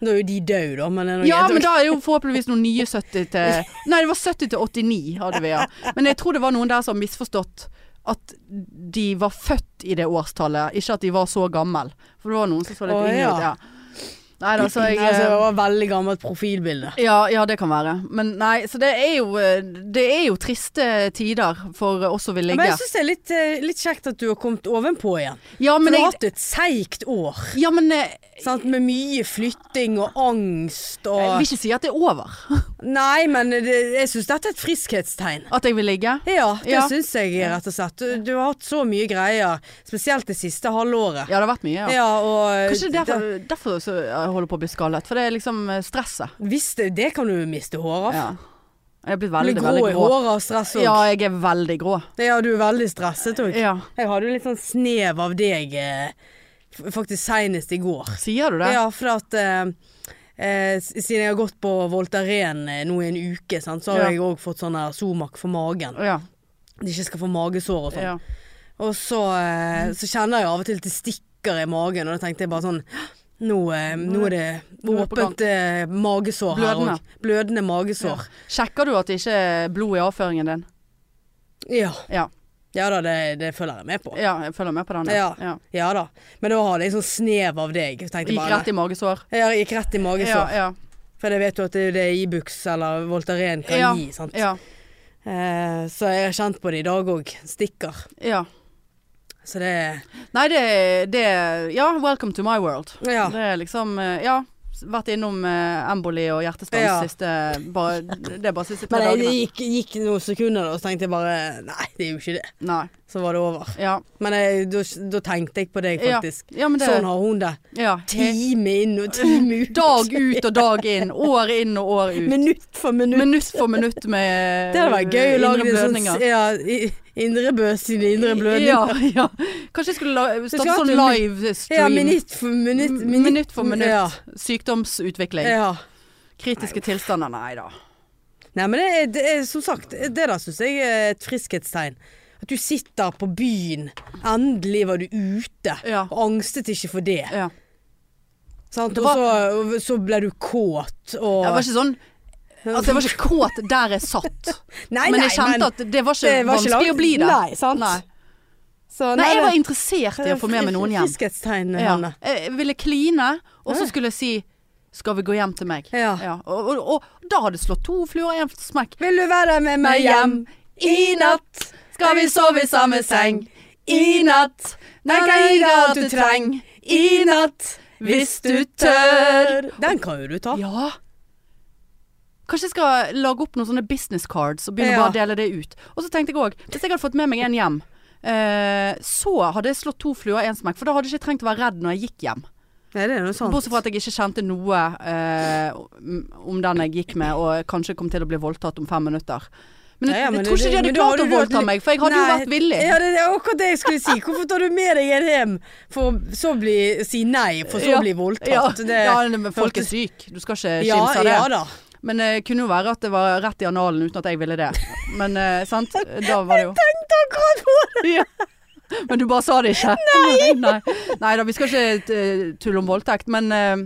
Nå er jo de døde, da. Men, det er noe
Ja,
helt-
men da
[LAUGHS]
er det jo forhåpentligvis noen nye 70 til Nei, det var 70 til 89 hadde vi, ja. Men jeg tror det var noen der som har misforstått at de var født i det årstallet, ikke at de var så gammel. For det var noen som så litt
Å,
yngre
ja.
ut, ja. Nei da,
[CLEARS THROAT]
så jeg
altså,
eh,
det var veldig gammelt profilbilde.
ja, ja, det kan være. Men nei, så det er jo eh, Det er jo triste tider for oss som vil
Men
ligge.
jeg syns det er litt, eh, litt kjekt at du har kommet ovenpå igjen.
Ja,
For
men
du har
jeg
hatt et seigt år.
Ja, men eh,
Sant? Med mye flytting og angst
jeg
og
vil ikke si at det er over.
Nei, men det, jeg syns dette er et friskhetstegn.
At jeg vil ligge.
Ja, det
Ja.
syns jeg rett og slett. Du, du har hatt så mye greier, spesielt det siste halvåret.
Ja, det har vært mye, ja.
og eh,
Kanskje det er derfor, derfor så eh, jeg holder på å bli skallet. For det er liksom eh, stresset.
det- Hvis det, det kan du miste håret av.
Ja. Jeg er blitt
Du
veldig,
blir grå
veldig
i
grå.
håret av stress òg.
Ja,
Ja.
jeg er veldig grå.
du er veldig stresset òg.
Ja.
Jeg hadde jo litt sånn snev av deg eh, f- faktisk seinest i går.
Sier du det?
Ja, for at eh, eh, s- siden jeg har gått på Voltaren eh, nå i en uke, sant, så har
Ja.
jeg òg fått sånn her Zomac for magen.
Ja.
At jeg ikke skal få magesår og sånn.
ja.
Og så, eh, så kjenner jeg av og til at det stikker i magen, og da tenkte jeg bare sånn nå, eh, nå
Nå
er det
er det på
åpent eh, magesår her
Blødende.
òg. Blødende magesår.
Sjekker du at det ikke er blod i avføringen din?
Ja.
Ja.
ja da, det, det følger jeg med på.
ja jeg følger med på den.
Ja. Ja da. Men da hadde jeg sånn snev av deg. Tenkte
Gikk
bare,
rett i magesår.
Ja, gikk rett i
Ja,
magesår.
ja,
For jeg vet jo at det er det Ibux eller Voltaren kan
Ja.
gi. sant?
ja,
Eh, så jeg har kjent på det i dag òg. Stikker.
ja.
Så det
Nei, det, det Ja, welcome to my world.
Ja.
Det er liksom eh, Ja. vært innom eh, emboli og hjertestans
Ja.
siste bare, Det er bare siste tre
Men det
dagene.
gikk, gikk noen sekunder, da, og så tenkte jeg bare Nei, det er jo ikke det.
Nei.
Så var det over.
Ja.
Men jeg- da da tenkte jeg på deg,
Ja.
faktisk.
ja, men det
Sånn har hun det.
ja.
Time inn og time ut.
Dag ut og dag inn. År inn og år ut.
[LAUGHS] Minutt for minutt.
Minutt for minutt med eh,
det hadde vært gøy å lage
indre
en
blødninger.
sånn ja, i- Indre Bø sine indre blødninger.
Ja, ja. Kanskje jeg skulle la- starte
skal
sånn
alltid-
live stream.
Ja, minutt for minutt.
M- minutt for minutt.
Ja.
Sykdomsutvikling.
ja.
Kritiske tilstander, nei da.
Nei, men det er, det er som sagt, det der syns jeg er et friskhetstegn. At du sitter på byen, endelig var du ute,
Ja.
og angstet ikke for det.
Ja.
Sant?
Det var-
Og så, så ble du kåt og
Jeg var ikke sånn at jeg var ikke kåt der jeg satt,
Nei,
men
nei,
jeg kjente at det var ikke
det var ikke
vanskelig
langt-
å bli det.
Nei, sant?
Nei.
Så,
Nei, jeg
det-
var interessert i å få med meg noen hjem.
Friskhetstegn,
Ja.
Hanne.
Jeg ville kline, og så
Ja.
skulle jeg si 'skal vi gå hjem til meg'?
Ja.
Og, og, og da hadde jeg slått to fluer i en smekk.
Vil du være med meg hjem i natt?
Skal vi sove i samme seng i natt? Den kan gi deg alt du trenger i natt hvis du tør.
Den kan jo du ta.
Ja. Kanskje jeg skal lage opp noen sånne business cards og begynne
Ja.
bare å dele det ut. Og så tenkte jeg òg, hvis jeg hadde fått med meg en hjem, eh, så hadde jeg slått to fluer i én smekk. For da hadde jeg ikke trengt å være redd når jeg gikk hjem.
Nei, det er noe sant.
Bortsett fra at jeg ikke kjente noe eh, om- om den jeg gikk med, og kanskje kom til å bli voldtatt om fem minutter. Men jeg,
Ja, ja, men
jeg tror
det-
ikke de hadde
men da
klart å
du vært
voldta
li-
meg, for jeg hadde jo
Nei,
vært villig.
Ja, det er akkurat det jeg skulle si. Hvorfor tar du med deg en hjem for å så bli, si nei, for så
Ja.
å bli voldtatt?
Ja,
det,
ja men folk er
hørtes-
syke. Du skal ikke
ja,
kimse av det.
ja da.
Men det kunne jo være at det var rett i analen uten at jeg ville det. Men eh,
[LAUGHS]
sant, da var det jo
Tenkte akkurat på det!
[LAUGHS] ja. Men du bare sa det
[LAUGHS]
ikke? Nei! [LAUGHS] Nei, da, vi skal ikke eh, tulle om voldtekt, men eh,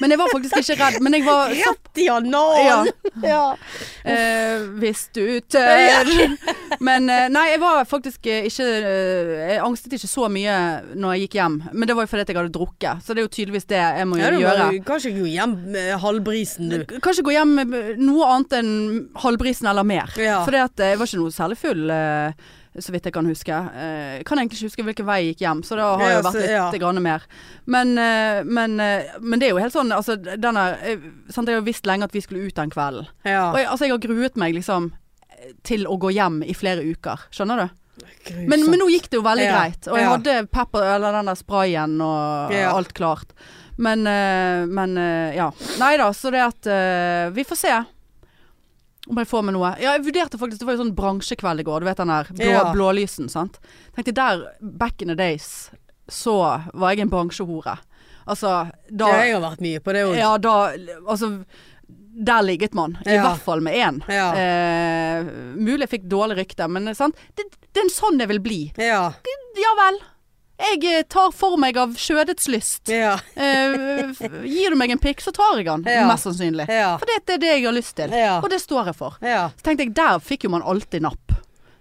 Men jeg var faktisk ikke redd. Men jeg
[LAUGHS]
var så
Rett i analen! Ja.
Eh, hvis du tør. [LAUGHS] Men eh, nei, jeg var faktisk eh, ikke eh, Jeg angstet ikke så mye når jeg gikk hjem. Men det var jo fordi at jeg hadde drukket. Så det er jo tydeligvis det jeg må
Ja, du
gjøre.
må kanskje gå hjem med halvbrisen, du.
Kanskje gå hjem med noe annet enn halvbrisen eller mer.
Ja.
For jeg var ikke noe særlig full, eh, så vidt jeg kan huske. Eh, jeg kan egentlig ikke huske hvilken vei jeg gikk hjem, så da har jeg jo
Ja,
vært
så-
litt
ja.
grann mer. Men, eh, men, eh, men det er jo helt sånn, altså denne eh, sant, Jeg har visst lenge at vi skulle ut den kvelden.
Ja.
Og jeg, altså, jeg har gruet meg liksom til å gå hjem i flere uker. Skjønner du?
Grusomt.
Men, men nå gikk det jo veldig
Ja,
greit. Og jeg
ja.
hadde pepper, eller den der sprayen og
Ja.
alt klart. Men, eh, men eh, ja. Nei da, så det at eh, Vi får se. Om jeg får med noe. Ja, jeg vurderte faktisk Det var jo sånn bransjekveld i går. Du vet den der blå,
Ja.
blålysen, sant. Tenkte der, back in the days, så var jeg en bransjehore. Altså, da
ja, jeg har vært mye på det òg.
ja, da Altså, der ligget man. I
Ja.
hvert fall med én.
Ja.
Eh, mulig jeg fikk dårlig rykte, men eh, sant? Det, det er en sånn jeg vil bli.
Ja.
Ja vel. Jeg eh, tar for meg av skjødets lyst.
Ja.
Eh, f- gir du meg en pikk, så tar jeg den.
Ja.
Mest sannsynlig.
Ja.
For det, det er det jeg har lyst til.
Ja.
Og det står jeg for.
ja.
Så tenkte jeg, der fikk jo man alltid napp.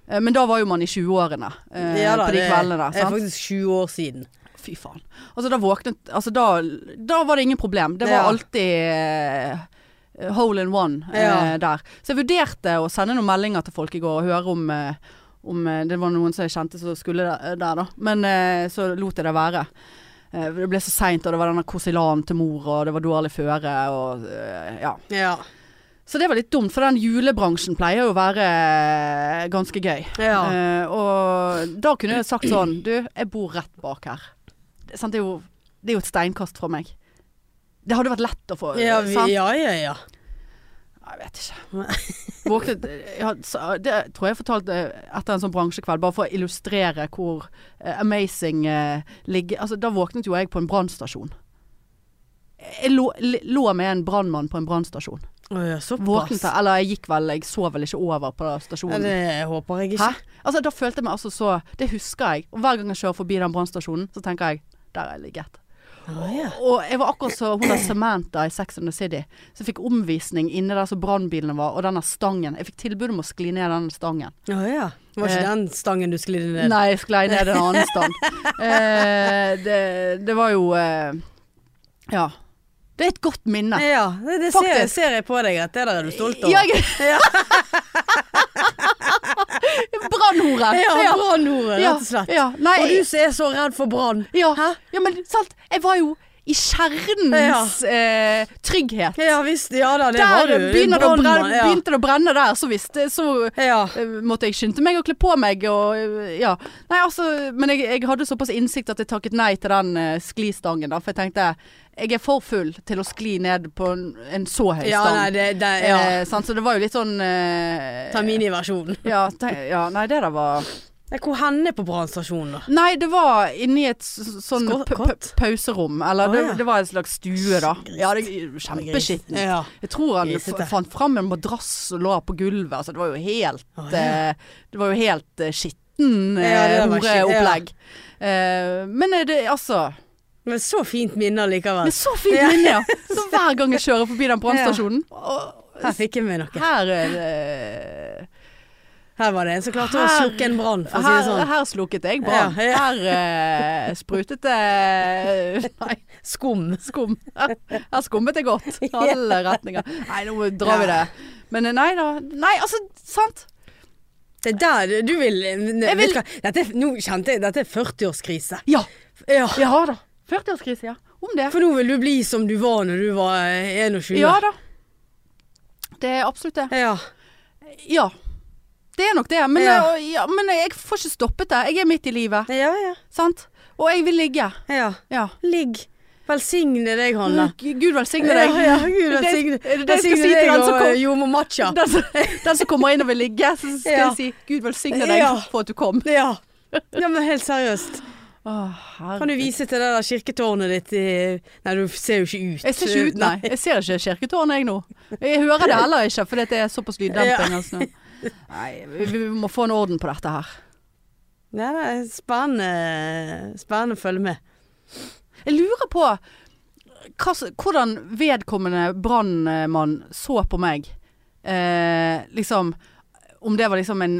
Eh, Men da var jo man i 20-årene eh,
Ja da,
på de
det
kveldene der.
er
Sant?
faktisk sju år siden.
Fy faen. Altså, da våknet Altså, da, da var det ingen problem. Det var
Ja.
alltid eh, hole in one eh,
Ja.
der. Så jeg vurderte å sende noen meldinger til folk i går og høre om eh, om eh, det var noen som jeg kjente som skulle der, der da. Men eh, så lot jeg det være. Eh, Det ble så seint, og det var denne korsilanen til mor, og det var dårlig føre, og eh, ja.
Ja.
Så det var litt dumt, for den julebransjen pleier jo å være eh, ganske gøy.
Ja.
Eh, og da kunne jeg sagt sånn Du, jeg bor rett bak her. Det, sant, det, er, jo, det er jo et steinkast fra meg. Det hadde vært lett å få
Ja, vi,
Eh, sant?
ja, ja, ja.
Nei, Jeg vet ikke. Våknet jeg hadde- sa- Det tror jeg jeg fortalte etter en sånn bransjekveld, bare for å illustrere hvor eh, amazing eh, ligger Altså, da våknet jo jeg på en brannstasjon. Jeg lå, lå med en brannmann på en brannstasjon.
Å, ja såpass.
Våknet jeg, eller jeg gikk vel, jeg sov vel ikke over på
Ja,
stasjonen.
det håper jeg
Hæ?
ikke.
Altså, da følte jeg meg altså så Det husker jeg. Og hver gang jeg kjører forbi den brannstasjonen, så tenker jeg der har jeg ligget.
Å, ja.
Og jeg var akkurat så hun der Samantha i Sex and the City, som fikk omvisning inne der som brannbilene var, og denne stangen. Jeg fikk tilbud om å skli ned den stangen.
Å, ja. Det var
Eh.
ikke den stangen du sklidde ned?
Nei, jeg sklei ned en annen
[LAUGHS]
stang. Eh, det, det var jo eh, Ja. Det er et godt minne.
Ja, det, det ser,
Faktisk.
ser jeg på deg at det der er du stolt over.
Ja, jeg... [LAUGHS] Brannhore.
ja, brannordet,
Ja,
rett og slett.
Ja, nei,
Og du som er så redd for brann.
Ja,
Hæ?
ja men sant, jeg var jo I kjernens eh, trygghet.
Ja visst. Ja da, det
Der
var du.
begynner det å
Brannmann,
brenne,
ja.
begynte det å brenne der, så visste så
Ja.
eh, måtte jeg skynde meg å kle på meg og eh, ja. Nei, altså, men jeg, jeg hadde såpass innsikt at jeg takket nei til den eh, sklistangen da, for jeg tenkte jeg er for full til å skli ned på en, en så høy
ja,
stang.
nei, det, det ja.
eh, sant? Så det var jo litt sånn eh,
Ta miniversjonen.
ja, te- ja, nei det der var
Nei, Hvor hen er på brannstasjonen, da?
Nei, det var inni et s- s- sånn
Skott-
pa- pa-
kott?
pauserom. Eller
Å,
det,
ja.
det var en slags stue, da. Ja, det Kjempeskittent.
Ja.
Jeg tror han
Grisete.
f- fant fram en madrass og la på gulvet. Altså, det var jo helt
Å, ja.
eh, Det var jo helt eh, skitten
Ja,
eh,
det var skitten,
horeopplegg. Eh, men eh, det, altså
Men så fint minne
Det
likevel.
er så fint
Ja.
minne, ja. Så hver gang jeg kjører
[LAUGHS]
forbi den brannstasjonen og-
Her fikk jeg meg noe.
Her er det
Her var det en som klarte å
Her-
slukke en brann, for å si det
her,
sånn.
her slukket jeg brann.
Ja, ja.
Her eh, sprutet det
[LAUGHS]
Nei,
Skum.
skum. Her, her skummet det [LAUGHS] godt. Alle retninger. Nei, nå drar vi det. Men eh, nei da. Nei, altså, sant.
Det er der du- du vil,
Jeg
vet
vil-
du hva? Dette, er- Nå kjente jeg Dette er 40-årskrise.
Ja.
Ja.
Ja da. 40-årskrise, ja. Om det.
For nå vil du bli som du var når du var eh, 21.
Ja da. Det er absolutt det.
Ja.
Ja. Det er nok det. Men,
Ja.
eh, ja, men jeg får ikke stoppet det. Jeg er midt i livet,
Ja, ja.
sant? Og jeg vil ligge.
ja.
Ja.
Ligg. Velsigne deg, Hanne.
Gud Gud Mm. velsigne deg. [LAUGHS]
Ja, ja, Gud
Er det-
velsigne
er det det jeg skal si til
deg
den som
og eh,
kom?
jordmor Matcha.
Den, som- den som kommer inn og vil ligge, så skal
Ja.
jeg si Gud velsigne deg
Ja.
for at du kom.
Ja. ja, men helt seriøst.
Å, herre.
Kan du vise til det der kirketårnet ditt i Nei, du ser jo ikke ut.
Jeg ser ikke ut, eh, nei. Jeg ser ikke kirketårnet jeg nå. Jeg hører [LAUGHS] det heller ikke, for det er såpass lyddemping. Altså. Nei, vi, vi må få en orden på dette her.
Nei, det er spennende, spennende å følge med.
Jeg lurer på hva, s- hvordan vedkommende brannmann så på meg. Eh, liksom Om det var liksom en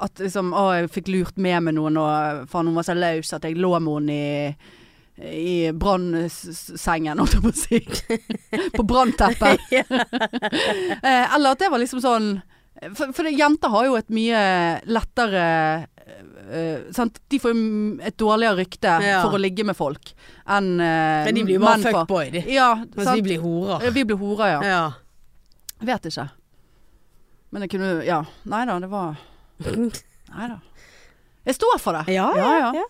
At liksom Å, jeg fikk lurt med meg noen, og eh, faen, hun var så løs at jeg lå med henne i i brannsengen, holdt jeg på å si. [LAUGHS] På brannteppet. Eh, Eller at det var liksom sånn For, for det- jenter har jo et mye lettere eh, sant? De får jo m- et dårligere rykte
Ja.
for å ligge med folk enn uh,
Men de blir jo bare fuckboy, de.
Ja,
Mens
sant?
vi blir horer.
Eh, Vi blir horer, ja.
Ja.
Vet ikke. Men jeg kunne Ja. Nei da, det
[LAUGHS]
var Nei da. Jeg står for det.
Ja,
ja.
ja.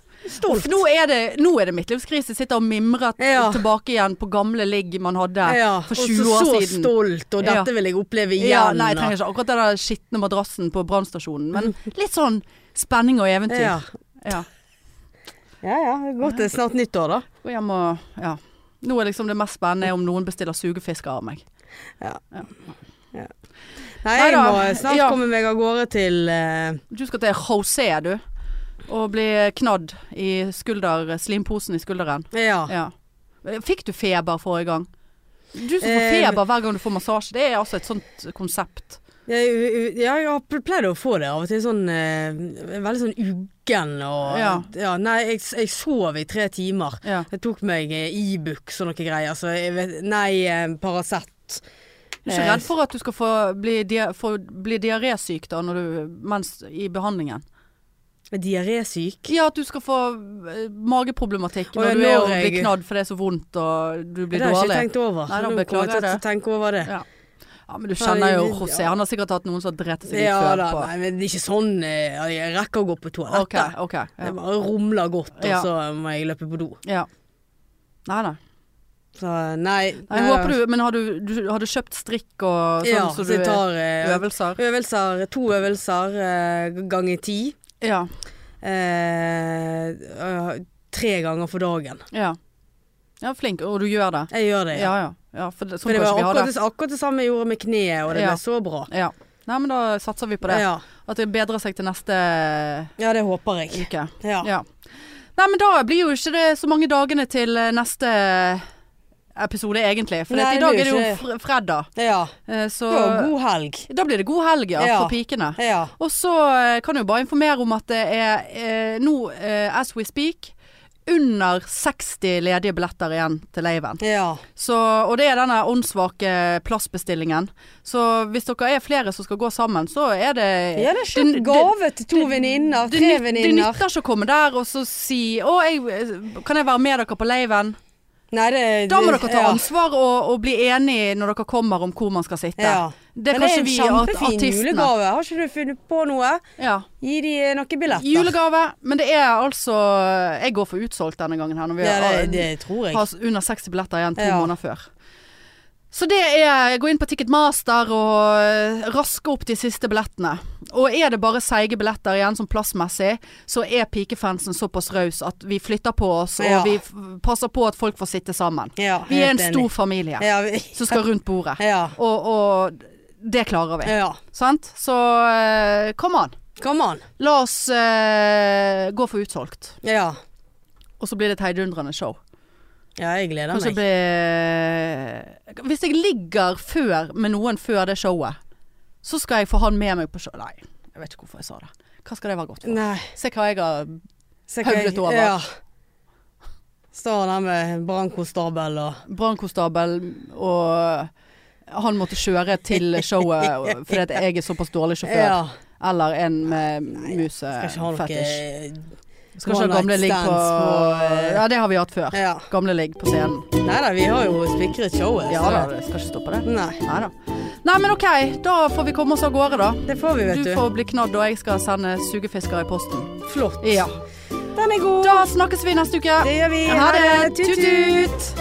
Uff, nå er det, nå er det midtlivskrise. Sitter og mimrer t-
Ja.
tilbake igjen på gamle ligg man hadde
Ja.
for
og
20
så-
år
Så
siden.
stolt, og dette
Ja.
vil jeg oppleve igjen.
Ja, nei, jeg trenger
og-
ikke akkurat den der skitne madrassen på brannstasjonen, men litt sånn spenning og eventyr.
Mm. Ja.
Ja.
ja ja, godt det er snart nyttår, da.
Gå hjem og Ja. Nå er liksom det mest spennende om noen bestiller sugefisker av meg.
Nei,
Nei
jeg
da,
må snart
ja.
komme meg av gårde til eh,
Du skal til José, du. Og bli knadd i skulder, slimposen i skulderen.
Ja.
Ja. Fikk du feber forrige gang? Du som får
Eh,
feber hver gang du får massasje, det er altså et sånt konsept.
Jeg, ja, jeg har pl- pleid å få det av og til sånn eh, Veldig sånn uggen og ja.
Ja.
Nei, jeg, jeg sov i tre timer.
Ja.
Jeg tok meg eh, Ibux og noe greier, så jeg vet Nei, eh, Paracet.
Du er ikke
Eh,
redd for at du skal få bli, dia få bli diarésyk da, når du, mens i behandlingen?
Eh, Diarésyk?
Ja, at du skal få eh, mageproblematikk
Å,
når
ja,
du er og
når jeg-
blir knadd for det er så vondt og du
Det
blir
har jeg ikke
dårlig.
tenkt over.
Nei, da
Nå kommer
beklager
jeg til å
jeg
tenke over det.
Ja. Ja, men du kjenner jo
Ja, det-
José.
ja.
Han har sikkert hatt noen som har drept seg litt
Ja
før
da,
på.
nei, men det er ikke sånn eh, Jeg rekker å gå på toalettet.
Ok, ok. Ja.
Jeg bare rumler godt, og
Ja.
så må jeg løpe på do.
ja. Nei, nei.
Så nei.
nei jeg håper du, men har du, du, har du kjøpt strikk og sånn
ja,
så
så
du
jeg tar eh,
øvelser?
Øvelser, to øvelser eh, ganger ti.
Ja.
Eh, eh, tre ganger for dagen.
ja. Ja, flink. Og du gjør det?
Jeg gjør det. Ja.
Ja, ja. ja for det,
For
sånn
det
kan
var
ikke vi ha
akkurat
det.
det, akkurat det samme jeg gjorde med kneet, og det
Ja.
ble så bra.
Ja. Nei, men da satser vi på det.
Ja.
At det bedrer seg til neste
ja, det håper jeg.
uke.
Ja.
Ja. Nei, men da blir jo ikke det så mange dagene til eh, neste episode, egentlig. For
Nei,
at i dag er
det blir
det jo
ikke
fr fredag.
ja.
Eh, Så
Det var god helg.
da blir det god helg, ja,
Ja.
for pikene.
Ja.
Og så eh, kan jeg jo bare informere om at det er eh, nå, eh, as we speak, under 60 ledige billetter igjen til laven.
ja.
Så, og det er denne åndssvake plassbestillingen. Så hvis dere er flere som skal gå sammen, så er det
Ja, det er kjøpt
det-
gave til to venninner,
det, nytt-
tre
det
venninner.
eh, nytter ikke å komme der og så si Å, jeg, kan jeg være med dere på laven?
Nei, det,
Da må dere ta
ja.
ansvar og, og bli enige når dere kommer om hvor man skal sitte.
Ja.
Det kan
Men det er
ikke
en
vi art
kjempefin
artistene.
julegave. Har ikke du funnet på noe?
Ja.
Gi de eh, noen billetter.
Julegave. Men det er altså Jeg går for utsolgt denne gangen her, når vi
Ja, det,
har-
det tror jeg.
har s- under 60 billetter igjen to
Ja.
måneder før. Så det er gå inn på Ticketmaster og eh, raske opp de siste billettene. Og er det bare seige billetter igjen sånn plassmessig, så er pikefansen såpass raus at vi flytter på oss, og
Ja.
vi f- passer på at folk får sitte sammen.
Ja,
Vi er
helt
en
enig.
stor familie
[LAUGHS] ja, vi,
som skal rundt bordet.
ja.
Og, og det klarer vi.
ja.
Sant? Så eh, kom an.
Kom an.
La oss eh, gå for utsolgt.
Ja.
Og så blir det et heidundrende show.
ja, jeg gleder
Kanskje
meg.
det blir Hvis jeg ligger før med noen før det showet, så skal jeg få han med meg på show... Nei, jeg vet ikke hvorfor jeg sa det. Hva skal det være godt for?
Nei.
Se hva jeg har
Så
Høvlet
jeg-
over.
Ja. Står der med brannkonstabel og
Brannkonstabel og han måtte kjøre til showet
[LAUGHS]
fordi at jeg er såpass dårlig sjåfør.
Ja.
Eller en med
Skal ikke ha noe
musefetisj. Skal
one
ikke ha gamle
night
ligg på
stands på, eh,
Ja, det har vi hatt før.
Ja.
Gamle ligg på scenen.
Nei da, vi har jo spikret showet.
Ja
så
da,
det-
det skal ikke stoppe det.
Nei,
Nei da. Nei, men OK. Da får vi komme oss av gårde, da.
det får vi, vet
Du
du.
får bli knadd, og jeg skal sende sugefisker i posten.
Flott.
Ja.
Den er god.
Da snakkes vi neste uke.
Det gjør vi.
Ha det.
Tut-tut.
Tut-tut.